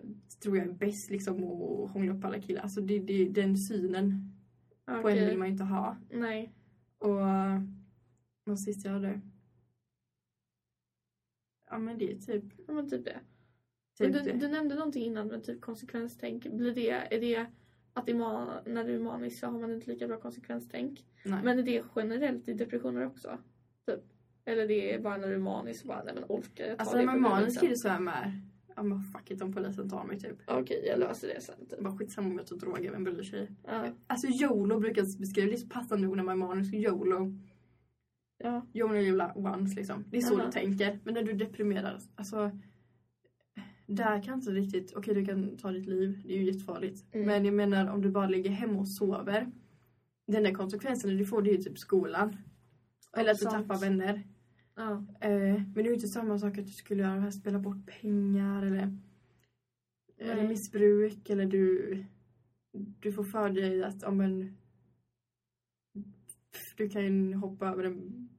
[SPEAKER 1] tror jag är bäst liksom och hånglar upp alla killar. Alltså det, det, den synen på en
[SPEAKER 2] Okej.
[SPEAKER 1] vill man ju inte ha.
[SPEAKER 2] Nej.
[SPEAKER 1] Och eh, vad sist jag hade? Ja men det är typ,
[SPEAKER 2] Ja, men typ det. Men
[SPEAKER 1] typ
[SPEAKER 2] du,
[SPEAKER 1] det.
[SPEAKER 2] du nämnde någonting innan med typ konsekvenstänk. Blir det, är det att i man, när du är manisk så har man inte lika bra konsekvenstänk?
[SPEAKER 1] Nej.
[SPEAKER 2] Men är det generellt i depressioner också? Typ. Eller det är bara när du är manisk så bara, nej men orkar jag ta
[SPEAKER 1] alltså när
[SPEAKER 2] det
[SPEAKER 1] man är
[SPEAKER 2] problemet
[SPEAKER 1] manisk
[SPEAKER 2] sen?
[SPEAKER 1] är det så här med, ja men fuck it om polisen tar mig typ.
[SPEAKER 2] Okej, jag löser det sen. Typ.
[SPEAKER 1] Bara skitsamma om jag tar droger, vem bryr sig?
[SPEAKER 2] Ja.
[SPEAKER 1] Alltså YOLO brukar beskrivas, det är så passande ord när man är manisk, YOLO.
[SPEAKER 2] Ja.
[SPEAKER 1] You only live like once liksom. Det är så
[SPEAKER 2] Aha.
[SPEAKER 1] du tänker. Men när du deprimerar, alltså. Där kan inte riktigt, okej du kan ta ditt liv, det är ju jättefarligt.
[SPEAKER 2] Mm.
[SPEAKER 1] Men jag menar om du bara ligger hemma och sover. Den där konsekvensen du får det är ju typ skolan. Eller att du
[SPEAKER 2] Sant.
[SPEAKER 1] tappar vänner.
[SPEAKER 2] ja.
[SPEAKER 1] Eh, men det är ju inte samma sak att du skulle göra det här, spela bort pengar eller, eller
[SPEAKER 2] Nej.
[SPEAKER 1] missbruk eller du, du får för dig att om en, du kan ju hoppa över en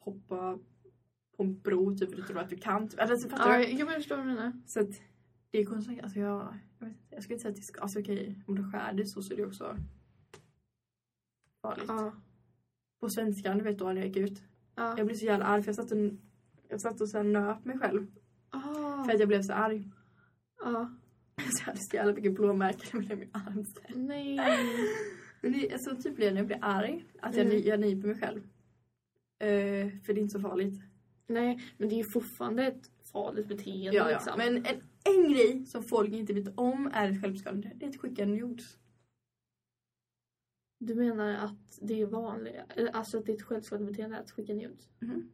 [SPEAKER 1] hoppa på en bro typ för du tror att du kan. Typ. Alltså, fattar
[SPEAKER 2] ja
[SPEAKER 1] du?
[SPEAKER 2] jag, jag förstår vad du menar.
[SPEAKER 1] Så att det är konstigt. Alltså, jag, jag, vet, inte. jag skulle inte säga att det ska, alltså, okej, om du skär dig så, så är det också farligt.
[SPEAKER 2] Ja.
[SPEAKER 1] På svenskan, du vet då när jag gick ut.
[SPEAKER 2] Ja.
[SPEAKER 1] Jag blev så jävla arg för jag satt och, jag satt och så här nöp mig själv.
[SPEAKER 2] Ah.
[SPEAKER 1] För att jag blev så arg. *laughs*
[SPEAKER 2] Ja.
[SPEAKER 1] Så jag hade så jävla mycket blåmärken över min arm.
[SPEAKER 2] Nej.
[SPEAKER 1] Men det, alltså, typ blir jag när jag blir arg. Att jag,
[SPEAKER 2] Mm.
[SPEAKER 1] ni- jag nyper mig själv. Eh, för det är inte så farligt.
[SPEAKER 2] nej, men det är ju fortfarande ett farligt beteende.
[SPEAKER 1] Ja, ja.
[SPEAKER 2] liksom.
[SPEAKER 1] Men en, en grej som folk inte vet om är ett självskadande. Det är att skicka nudes.
[SPEAKER 2] Du menar att det är vanligt, alltså att det är ett självskadebeteende att skicka nudes?
[SPEAKER 1] Mhm.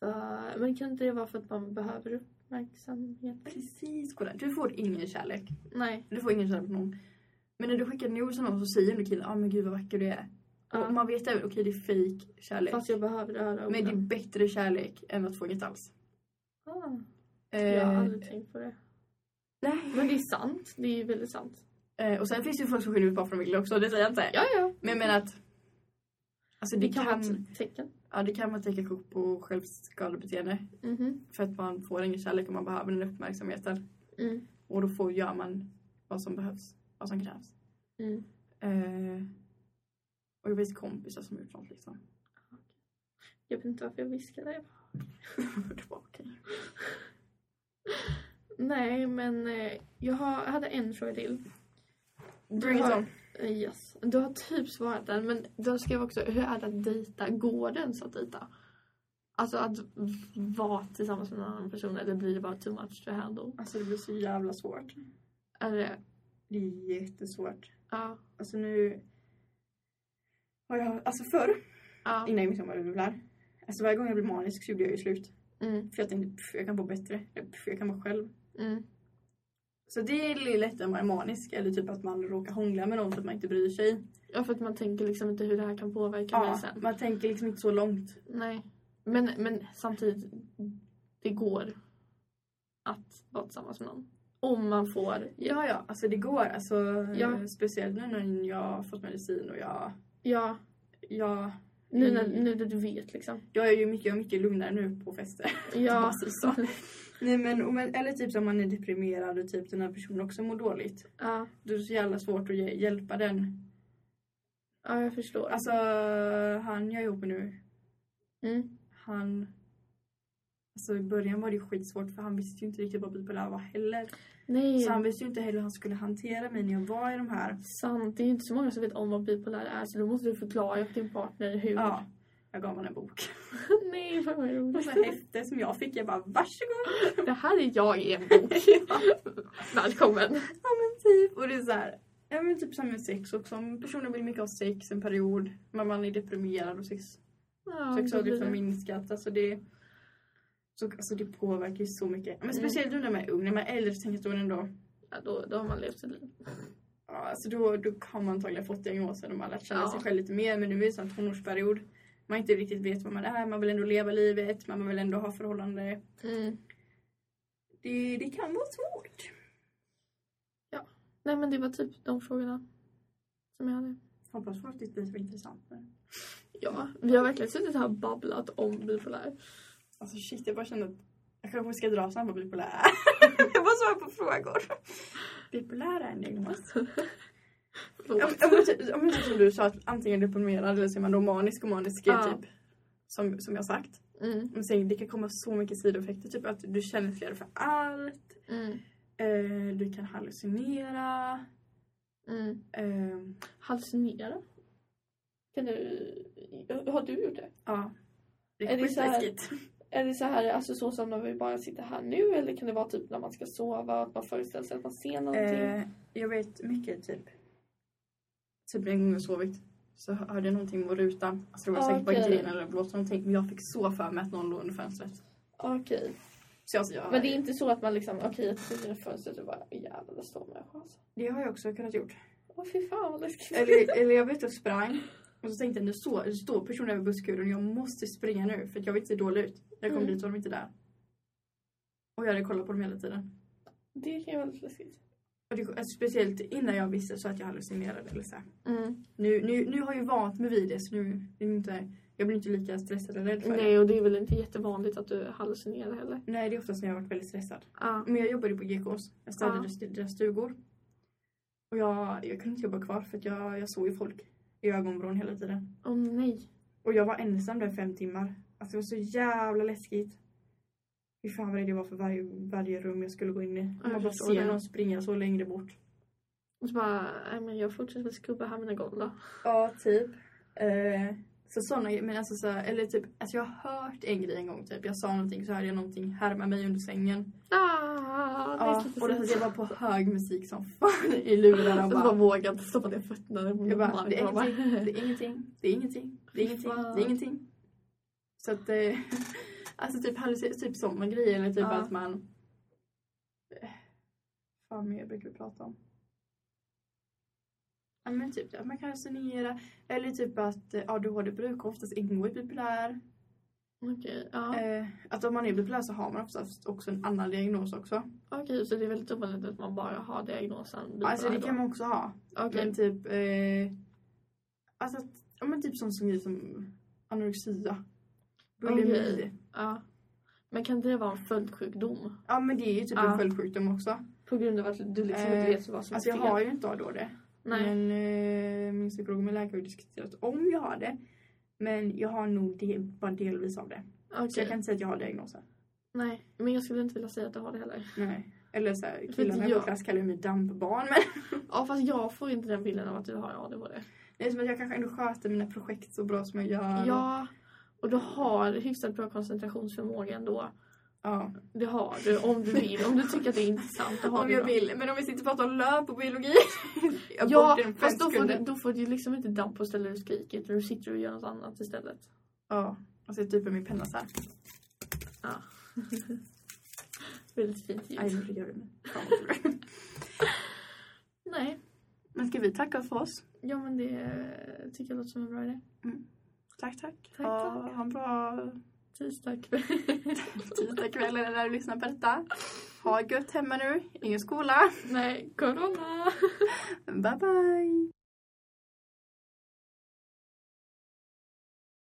[SPEAKER 2] För- Men kan inte det vara för att man behöver uppmärksamhet?
[SPEAKER 1] Precis, kolla. Du får ingen kärlek.
[SPEAKER 2] Nej.
[SPEAKER 1] Du får ingen kärlek från någon. Men när du skickar nudes till någon så säger du killen, ja ah, men gud vad vacker du är.
[SPEAKER 2] Ja.
[SPEAKER 1] Och man vet även, okej det är fake kärlek.
[SPEAKER 2] Fast jag behöver höra orden.
[SPEAKER 1] Men det är bättre kärlek än att få inget alls.
[SPEAKER 2] ah,
[SPEAKER 1] Eh,
[SPEAKER 2] jag har aldrig tänkt på det.
[SPEAKER 1] nej.
[SPEAKER 2] Men det är sant. Det är ju väldigt sant.
[SPEAKER 1] Eh, och sen finns det ju folk som skiljer ut bara för de vill också, det säger jag inte.
[SPEAKER 2] Ja, ja.
[SPEAKER 1] Men jag menar att alltså det,
[SPEAKER 2] Det kan
[SPEAKER 1] kan,
[SPEAKER 2] vara ett tecken.
[SPEAKER 1] ja, det kan man tänka upp på självskadebeteende.
[SPEAKER 2] Mhm.
[SPEAKER 1] För att man får ingen kärlek och man behöver den uppmärksamheten.
[SPEAKER 2] Mm.
[SPEAKER 1] Och då får, gör man vad som behövs, vad som krävs.
[SPEAKER 2] Mm.
[SPEAKER 1] Eh, och jag vet kompisar som gjort sånt liksom. *laughs*
[SPEAKER 2] Jag vet inte varför jag viskade. Jag bara,
[SPEAKER 1] Tillbaka.
[SPEAKER 2] Nej, men eh, jag har, jag hade en fråga till. Du
[SPEAKER 1] Bring it
[SPEAKER 2] har-
[SPEAKER 1] on.
[SPEAKER 2] Eh, Yes. Du har typ svarat den, men du skrev också hur är det att dejta? Går det ens att dejta? Alltså att v- vara tillsammans med en annan person eller blir det bara too much to handle?
[SPEAKER 1] Alltså det blir så jävla svårt.
[SPEAKER 2] Är det,
[SPEAKER 1] Det är jättesvårt.
[SPEAKER 2] ja,
[SPEAKER 1] Alltså nu har jag, alltså förr,
[SPEAKER 2] ja,
[SPEAKER 1] innan jag visste vad jag blev Alltså varje gång jag blev manisk så gjorde jag ju slut.
[SPEAKER 2] mm,
[SPEAKER 1] För jag tänkte, pff, jag kan vara bättre. Pff, jag kan vara själv.
[SPEAKER 2] mm,
[SPEAKER 1] Så det är lättare att vara manisk. Eller typ att man råkar hångla med någon för att man inte bryr sig.
[SPEAKER 2] ja, för att man tänker liksom inte hur det här kan påverka mig
[SPEAKER 1] Ja,
[SPEAKER 2] sen.
[SPEAKER 1] man tänker liksom inte så långt.
[SPEAKER 2] Nej, men, men samtidigt, det går att vara tillsammans med någon. Om man får,
[SPEAKER 1] Ja, ja. Alltså det går. Alltså,
[SPEAKER 2] Ja.
[SPEAKER 1] eh, Speciellt nu när jag har fått medicin och jag...
[SPEAKER 2] ja,
[SPEAKER 1] Jag,
[SPEAKER 2] nu när,
[SPEAKER 1] Mm.
[SPEAKER 2] nu när du vet liksom.
[SPEAKER 1] jag är ju mycket, mycket lugnare nu på fester.
[SPEAKER 2] Ja,
[SPEAKER 1] Precis *laughs* så. Nej, men, och men, eller typ som man är deprimerad och typ den här personen också mår dåligt.
[SPEAKER 2] ja,
[SPEAKER 1] Då är det så jävla svårt att hj- hjälpa den.
[SPEAKER 2] ja, jag förstår.
[SPEAKER 1] Alltså han jag är ihop med nu,
[SPEAKER 2] Mm.
[SPEAKER 1] han... Alltså i början var det ju skitsvårt för han visste ju inte riktigt vad bipolär var heller.
[SPEAKER 2] Nej,
[SPEAKER 1] Så han visste ju inte heller hur han skulle hantera mig när jag var i de här.
[SPEAKER 2] sant. Det är ju inte så många som vet om vad bipolär är så då måste du förklara för din partner hur.
[SPEAKER 1] Ja, jag gav honom en bok. *laughs*
[SPEAKER 2] Nej, vad
[SPEAKER 1] Och
[SPEAKER 2] roligt. *laughs*
[SPEAKER 1] så häfte som jag fick, jag bara varsågod.
[SPEAKER 2] Det här är jag i en *laughs* bok. Välkommen.
[SPEAKER 1] Ja men typ. Och det är så här, ja men typ samma med sex också. Om personen vill mycket ha sex en period, men man är deprimerad och sex,
[SPEAKER 2] Ja,
[SPEAKER 1] sex
[SPEAKER 2] det
[SPEAKER 1] har
[SPEAKER 2] blir
[SPEAKER 1] liksom
[SPEAKER 2] det.
[SPEAKER 1] minskat. Alltså det, så, alltså det påverkar ju så mycket. Men speciellt nu när man är ung, när man är äldre så tänker jag då ändå,
[SPEAKER 2] ja, då, då har man levt sitt liv.
[SPEAKER 1] ja, alltså då, då har man antagligen fått diagnosen och man har lärt känna
[SPEAKER 2] Ja.
[SPEAKER 1] sig själv lite mer. Men nu är det en sån tonårsperiod. Man inte riktigt vet vad man är, man vill ändå leva livet, man vill ändå ha förhållande.
[SPEAKER 2] Mm.
[SPEAKER 1] Det, det kan vara svårt.
[SPEAKER 2] Nej men det var typ de frågorna som jag hade.
[SPEAKER 1] Hoppas faktiskt det blir intressant. Men...
[SPEAKER 2] Ja, vi har verkligen suttit här och babblat om bipolär.
[SPEAKER 1] Alltså shit, jag bara kände att jag kanske ska dra snabbt på *laughs* bipolär. jag bara svarar på frågor. Bipolär är en diagnos.
[SPEAKER 2] Förlåt.
[SPEAKER 1] Om- om inte- Om inte som du sa, att antingen är deprimerad eller så är man då manisk och manisk är
[SPEAKER 2] Ja.
[SPEAKER 1] typ som, som jag sagt.
[SPEAKER 2] Mm,
[SPEAKER 1] Men sen, det kan komma så mycket sidoeffekter, typ att du känner fler för allt.
[SPEAKER 2] mm,
[SPEAKER 1] Eh, du kan hallucinera.
[SPEAKER 2] mm.
[SPEAKER 1] Eh,
[SPEAKER 2] Hallucinera? Kan du... Har du gjort det?
[SPEAKER 1] ja. Det
[SPEAKER 2] Är
[SPEAKER 1] är
[SPEAKER 2] det så här-
[SPEAKER 1] skitläskigt.
[SPEAKER 2] Är det så här, alltså så som när vi bara sitter här nu eller kan det vara typ när man ska sova att man föreställer sig att man ser någonting?
[SPEAKER 1] Eh, jag vet mycket typ. Typ en gång jag sovit så hörde jag någonting mot rutan. Alltså det var
[SPEAKER 2] Ah,
[SPEAKER 1] säkert bara
[SPEAKER 2] okej.
[SPEAKER 1] grejen eller blåst någonting. Men jag fick så för mig att någon låg under fönstret.
[SPEAKER 2] Okej.
[SPEAKER 1] Så jag, jag,
[SPEAKER 2] Men det är inte så att man liksom, okej jag tittar ut fönstret och bara jävlar där står en människa alltså.
[SPEAKER 1] det har jag också kunnat gjort.
[SPEAKER 2] Åh fy fan vad läskigt.
[SPEAKER 1] Eller, eller jag vet jag sprang. Och så tänkte jag nu så, det står personer över busskuren. Jag måste springa nu för att jag vet se dålig ut. Jag kom
[SPEAKER 2] Mm.
[SPEAKER 1] dit och de inte där. Och jag hade kollat på dem hela tiden.
[SPEAKER 2] Det kan ju vara lite läskigt.
[SPEAKER 1] Och det, alltså, speciellt innan jag visste så att jag hallucinerade. Eller så här.
[SPEAKER 2] Mm.
[SPEAKER 1] Nu, nu, nu har jag ju vant mig vid det så nu är det inte, jag blir inte lika stressad eller rädd för det.
[SPEAKER 2] Nej och det är väl inte jättevanligt att du hallucinerar heller. Mm.
[SPEAKER 1] Nej, det är oftast när jag har varit väldigt stressad.
[SPEAKER 2] Ja.
[SPEAKER 1] Men jag jobbade på GKs. Jag städade
[SPEAKER 2] Ja.
[SPEAKER 1] deras stu- deras stugor. Och jag, jag kunde inte jobba kvar för att jag, jag såg ju folk i ögonvrån hela tiden.
[SPEAKER 2] Åh nej.
[SPEAKER 1] Och jag var ensam där fem timmar. Alltså det var så jävla läskigt. Fy fan vad det var för varje, varje rum jag skulle gå in i.
[SPEAKER 2] jag
[SPEAKER 1] Man bara
[SPEAKER 2] förstår
[SPEAKER 1] ser
[SPEAKER 2] det.
[SPEAKER 1] någon springa så längre bort.
[SPEAKER 2] Och så bara, nej men jag fortsätter skubba här mina golv då.
[SPEAKER 1] Ja, typ. Eh, så såna men alltså så, här- eller typ, alltså jag har hört en grej en gång typ. Jag sa någonting så hörde jag någonting härma mig under sängen.
[SPEAKER 2] Ah,
[SPEAKER 1] Ja,
[SPEAKER 2] läskigt.
[SPEAKER 1] och det, jag var på hög musik som fan i lurarna. *laughs* och
[SPEAKER 2] Jag bara
[SPEAKER 1] Bara,
[SPEAKER 2] vågar inte stoppa ner fötterna på
[SPEAKER 1] jag
[SPEAKER 2] min
[SPEAKER 1] bara,
[SPEAKER 2] mark.
[SPEAKER 1] det är
[SPEAKER 2] Jag bara,
[SPEAKER 1] ingenting, det är ingenting, det är ingenting, det är ingenting, det är ingenting. Så att, eh, *laughs* alltså typ, halluci- typ sådana grejer eller typ
[SPEAKER 2] Ja.
[SPEAKER 1] att man... Eh, Fan mer brukar vi prata om. Ja men typ att man kan resonera. Eller typ att eh, ADHD brukar oftast ingå i bipolär.
[SPEAKER 2] Okej, ja.
[SPEAKER 1] Eh, att om man är bipolär så har man oftast också en annan diagnos också.
[SPEAKER 2] Okej, så det är väldigt ovanligt att man bara har diagnosen bipolär
[SPEAKER 1] Alltså det
[SPEAKER 2] då.
[SPEAKER 1] kan man också ha.
[SPEAKER 2] Okej.
[SPEAKER 1] Men typ, eh, alltså att, ja men typ sån som grej som anorexia. Bulimi.
[SPEAKER 2] Okej. Ja. Men kan det vara en följdsjukdom?
[SPEAKER 1] Ja men det är ju typ
[SPEAKER 2] Ja.
[SPEAKER 1] en följdsjukdom också.
[SPEAKER 2] På grund av att du liksom inte
[SPEAKER 1] Eh,
[SPEAKER 2] vet vad som
[SPEAKER 1] Alltså jag
[SPEAKER 2] är
[SPEAKER 1] har Mm. ju inte ADHD.
[SPEAKER 2] Nej.
[SPEAKER 1] Men eh, min psykolog och min läkare har ju diskuterat om jag har det. Men jag har nog del, bara delvis av det.
[SPEAKER 2] Okej.
[SPEAKER 1] Så jag kan inte säga att jag har diagnoser.
[SPEAKER 2] Nej, men jag skulle inte vilja säga att du har det heller.
[SPEAKER 1] Nej. Eller så här,
[SPEAKER 2] För
[SPEAKER 1] killarna i
[SPEAKER 2] jag-
[SPEAKER 1] vår klass kallar ju mig dampbarn. Men *laughs*
[SPEAKER 2] Ja, fast jag får inte den bilden av att du har ADHD.
[SPEAKER 1] det är som att jag kanske ändå sköter mina projekt så bra som jag gör.
[SPEAKER 2] Ja, och du har hyfsat bra koncentrationsförmåga ändå.
[SPEAKER 1] ja.
[SPEAKER 2] Det har du, om du vill. Om du tycker att det är intressant, då har
[SPEAKER 1] Om
[SPEAKER 2] du
[SPEAKER 1] jag
[SPEAKER 2] bra.
[SPEAKER 1] vill. Men om vi sitter och pratar om löp och biologi. jag
[SPEAKER 2] Ja,
[SPEAKER 1] bort den på
[SPEAKER 2] fast
[SPEAKER 1] en
[SPEAKER 2] då får,
[SPEAKER 1] sekund.
[SPEAKER 2] du, då får du liksom inte damp på stället du skriker utan du sitter och gör något annat istället.
[SPEAKER 1] Ja. Och så typer min penna så här.
[SPEAKER 2] Väldigt fint ljud.
[SPEAKER 1] Nej, jag gör det nu. Fan, vad kul.
[SPEAKER 2] Nej,
[SPEAKER 1] Men ska vi tacka för oss?
[SPEAKER 2] ja men det eh, tycker jag låter som en bra idé.
[SPEAKER 1] Tack, tack.
[SPEAKER 2] Tack,
[SPEAKER 1] ha,
[SPEAKER 2] tack.
[SPEAKER 1] ha en bra
[SPEAKER 2] Tisdag *laughs* kväll.
[SPEAKER 1] tisdagkväll eller när du lyssnar på detta. Ha gött hemma nu. Ingen skola.
[SPEAKER 2] Nej, corona!
[SPEAKER 1] Bye, bye.